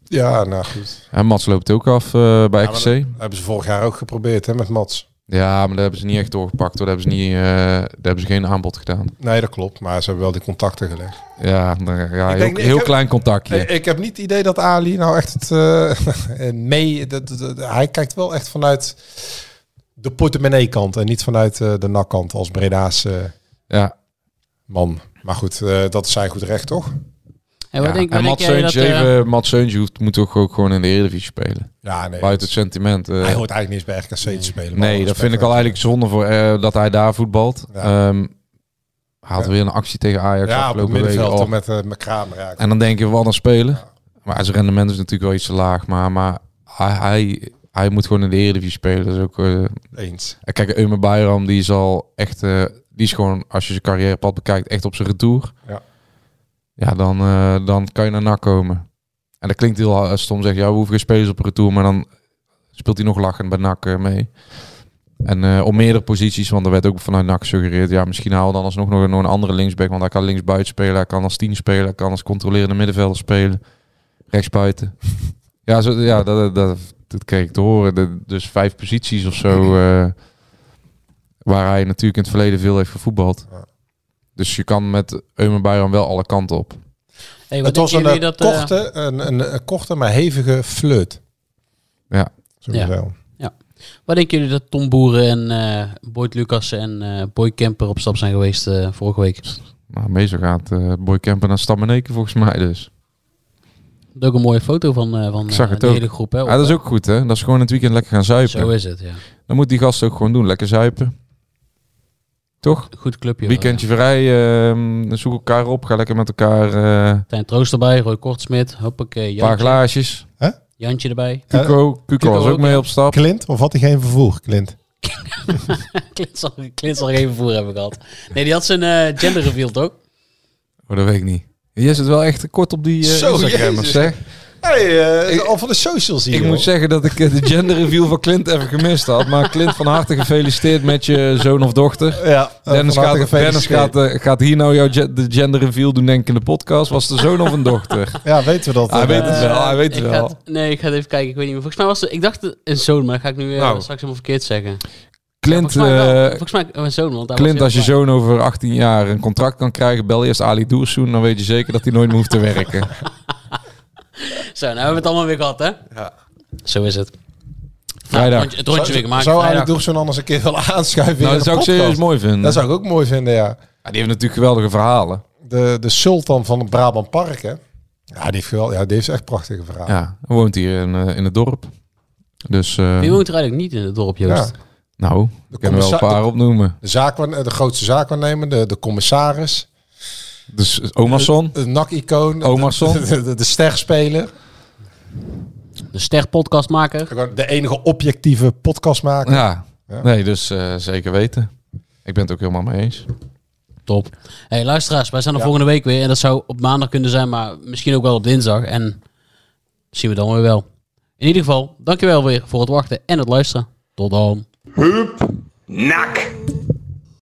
Speaker 7: nou goed.
Speaker 8: En Mats loopt ook af eh, bij
Speaker 7: Ja, maar
Speaker 8: XC.
Speaker 7: dat hebben ze vorig jaar ook geprobeerd hè, met Mats.
Speaker 8: Ja, maar daar hebben ze niet echt doorgepakt hoor. Daar hebben ze, niet, eh, daar hebben ze geen aanbod gedaan.
Speaker 7: Nee, dat klopt. Maar ze hebben wel die contacten gelegd.
Speaker 8: Ja, daar- ja
Speaker 7: Ik
Speaker 8: heel,
Speaker 7: denk niet- ik
Speaker 8: heel
Speaker 7: heb-
Speaker 8: klein contactje.
Speaker 7: Ik, ik heb niet het idee dat Ali nou echt het, eh, *laughs* mee... Dat, dat- dat- hij kijkt wel echt vanuit de portemonnee kant en niet vanuit eh, de nakkant als Breda's eh,
Speaker 8: ja.
Speaker 7: man. Maar goed, eh, dat is zijn goed recht, toch?
Speaker 6: En wat
Speaker 8: Ja.
Speaker 6: denk, wat
Speaker 8: en
Speaker 6: denk
Speaker 8: Mats
Speaker 6: jij dat...
Speaker 8: Seuntje,
Speaker 6: eh,
Speaker 8: even, Mats Seuntje hoeft- moet toch ook gewoon in de Eredivisie spelen.
Speaker 7: Ja, nee.
Speaker 8: Buiten het sentiment. eh,
Speaker 7: Hij hoort eigenlijk niet eens bij RKC te spelen. maar
Speaker 8: nee, dat
Speaker 7: respect
Speaker 8: vind ik al
Speaker 7: wel.
Speaker 8: eigenlijk zonde voor eh, dat hij daar voetbalt.
Speaker 7: Ja.
Speaker 8: Ehm, hij had weer een actie tegen Ajax
Speaker 7: Ja, op het
Speaker 8: afgelopen week.
Speaker 7: middenveld
Speaker 8: al.
Speaker 7: dan met, eh, met Kramer. Ja,
Speaker 8: En dan denk je, wat dan spelen? Maar zijn rendement is natuurlijk wel iets te laag. Maar, maar hij, hij, hij moet gewoon in de Eredivisie spelen. Dat is ook, eh,
Speaker 7: eens.
Speaker 8: en kijk, Eumer Bayram, die is al echt... eh, die is gewoon, als je zijn carrièrepad bekijkt, echt op zijn retour.
Speaker 7: Ja.
Speaker 8: Ja, dan, eh, dan kan je naar NAC komen. En dat klinkt heel eh, stom, zeg je, ja, we hoeven geen spelers op retour. Maar dan speelt hij nog lachend bij NAC eh, mee. En eh, op meerdere posities, want er werd ook vanuit NAC gesuggereerd... ja, misschien halen we dan alsnog nog een, nog een andere linksback... want hij kan linksbuiten spelen, hij kan als tien spelen... hij kan als controlerende middenvelder spelen, rechtsbuiten. ja, zo, ja dat, dat, dat kreeg ik te horen. De- dus vijf posities of zo... eh, waar hij natuurlijk in het verleden veel heeft gevoetbald.
Speaker 7: Ja.
Speaker 8: Dus je kan met Eumen Bayram wel alle kanten op.
Speaker 6: hey, wat
Speaker 7: Het was
Speaker 6: denken
Speaker 7: een,
Speaker 6: jullie
Speaker 7: eh,
Speaker 6: dat... eh,
Speaker 7: korte, een, een, een korte, maar hevige flirt.
Speaker 8: Ja.
Speaker 7: Sowieso.
Speaker 6: Wat denken jullie dat Tom Boeren en eh Boyd Lucassen en eh Boy Kemper op stap zijn geweest eh, vorige week?
Speaker 8: Nou, meestal gaat eh Boy Kemper naar Stammeneken volgens mij dus.
Speaker 6: Er is ook een mooie foto van, eh, van
Speaker 8: Ik zag
Speaker 6: eh,
Speaker 8: het
Speaker 6: de
Speaker 8: ook.
Speaker 6: hele groep. Hè, op,
Speaker 8: Oh, Ja, dat is ook goed, hè? Dat ze gewoon in het weekend lekker gaan
Speaker 6: eh,
Speaker 8: zuipen.
Speaker 6: Zo is het, ja.
Speaker 8: Dan moet die gast ook gewoon doen. Lekker zuipen. Toch?
Speaker 6: Goed clubje.
Speaker 8: Weekendje vrij. ehm, zoek elkaar op. Ga lekker met elkaar. eh, een
Speaker 6: Tijn Troost erbij, Roy Kortsmit, hoppakee,
Speaker 8: paar
Speaker 6: Jantje,
Speaker 8: glaasjes.
Speaker 6: Jantje erbij. *laughs*
Speaker 8: Cuco. Cuco was Eh, ook
Speaker 6: ook,
Speaker 8: mee
Speaker 6: ja.
Speaker 8: op stap.
Speaker 7: Clint, of had hij geen vervoer, Clint?
Speaker 6: Clint zal, Clint zal geen vervoer hebben gehad. Nee, die had zijn eh, gender reveal toch?
Speaker 8: Oh, dat weet ik niet. Je zit wel echt kort op die eh
Speaker 7: Zo,
Speaker 8: Instagrammers,
Speaker 7: Jezus.
Speaker 8: hè?
Speaker 7: hey,
Speaker 8: Ik-
Speaker 7: eh, al van de socials hier.
Speaker 8: Ik
Speaker 7: joh.
Speaker 8: moet zeggen dat ik eh, de gender review van Clint even gemist had. Maar Clint, van harte gefeliciteerd met je zoon of dochter.
Speaker 7: Ja, eh,
Speaker 8: Dennis
Speaker 7: van harte
Speaker 8: gaat, Dennis
Speaker 7: gefeliciteerd.
Speaker 8: gaat, eh, gaat hier nou jouw ge- de gender reveal doen, denk ik, in de podcast. Was het een zoon of een
Speaker 7: *laughs*
Speaker 8: dochter?
Speaker 7: Ja, weten we dat.
Speaker 8: Hij
Speaker 7: eh,
Speaker 8: weet het wel, hij weet
Speaker 6: Ik
Speaker 8: het
Speaker 6: ga
Speaker 8: wel.
Speaker 6: het- nee, ik ga het even kijken. Ik weet niet meer. Volgens mij was het, ik dacht het- een zoon, maar dat ga ik nu eh,
Speaker 8: Nou.
Speaker 6: straks helemaal verkeerd zeggen.
Speaker 8: Clint,
Speaker 6: volgens, mij wel.
Speaker 8: eh,
Speaker 6: volgens mij oh, een zoon, want daar
Speaker 8: Clint,
Speaker 6: was
Speaker 8: als je
Speaker 6: hij
Speaker 8: zoon over 18 jaar een contract kan krijgen, bel eerst Ali Doersoen. Dan weet je zeker dat hij nooit meer hoeft te werken. Nou,
Speaker 6: bij. Zo, nou hebben we het allemaal weer gehad, hè? Ja. Zo is het.
Speaker 8: Vrijdag.
Speaker 6: Nou, het rondje- het rondje weer gemaakt.
Speaker 7: Zou
Speaker 6: vrijdag.
Speaker 7: eigenlijk zo'n anders een keer willen *laughs* aanschuiven
Speaker 8: Nou, dat
Speaker 7: in de
Speaker 8: zou ik
Speaker 7: podcast?
Speaker 8: serieus mooi vinden.
Speaker 7: Dat zou ik ook mooi vinden, ja.
Speaker 8: Ja, die heeft natuurlijk geweldige verhalen.
Speaker 7: De, de sultan van het Brabant Park, hè. Ja, die heeft, geweld, ja, die heeft echt prachtige verhalen.
Speaker 8: Ja, hij woont hier in, eh, in het dorp. Dus, eh,
Speaker 6: Wie woont er eigenlijk niet in het dorp, Joost?
Speaker 7: Ja.
Speaker 8: nou, ik kan er wel een
Speaker 7: commissar-
Speaker 8: paar opnoemen.
Speaker 7: De, zaak, de grootste zaakwaarnemer, de, de commissaris,
Speaker 8: Dus eh, Omarsson.
Speaker 7: de NAC-icoon,
Speaker 8: Omarsson.
Speaker 7: de, de, de, de sterspeler,
Speaker 6: De ster-podcastmaker.
Speaker 7: Gewoon de enige objectieve podcastmaker.
Speaker 8: Ja,
Speaker 7: Ja.
Speaker 8: nee, dus eh, zeker weten. Ik ben het ook helemaal mee eens.
Speaker 6: Top. hey, luisteraars, wij zijn er volgende week weer. En dat zou op maandag kunnen zijn, maar misschien ook wel op dinsdag. En zien we dan weer wel. In ieder geval, dankjewel weer voor het wachten en het luisteren. Tot dan.
Speaker 9: Nak.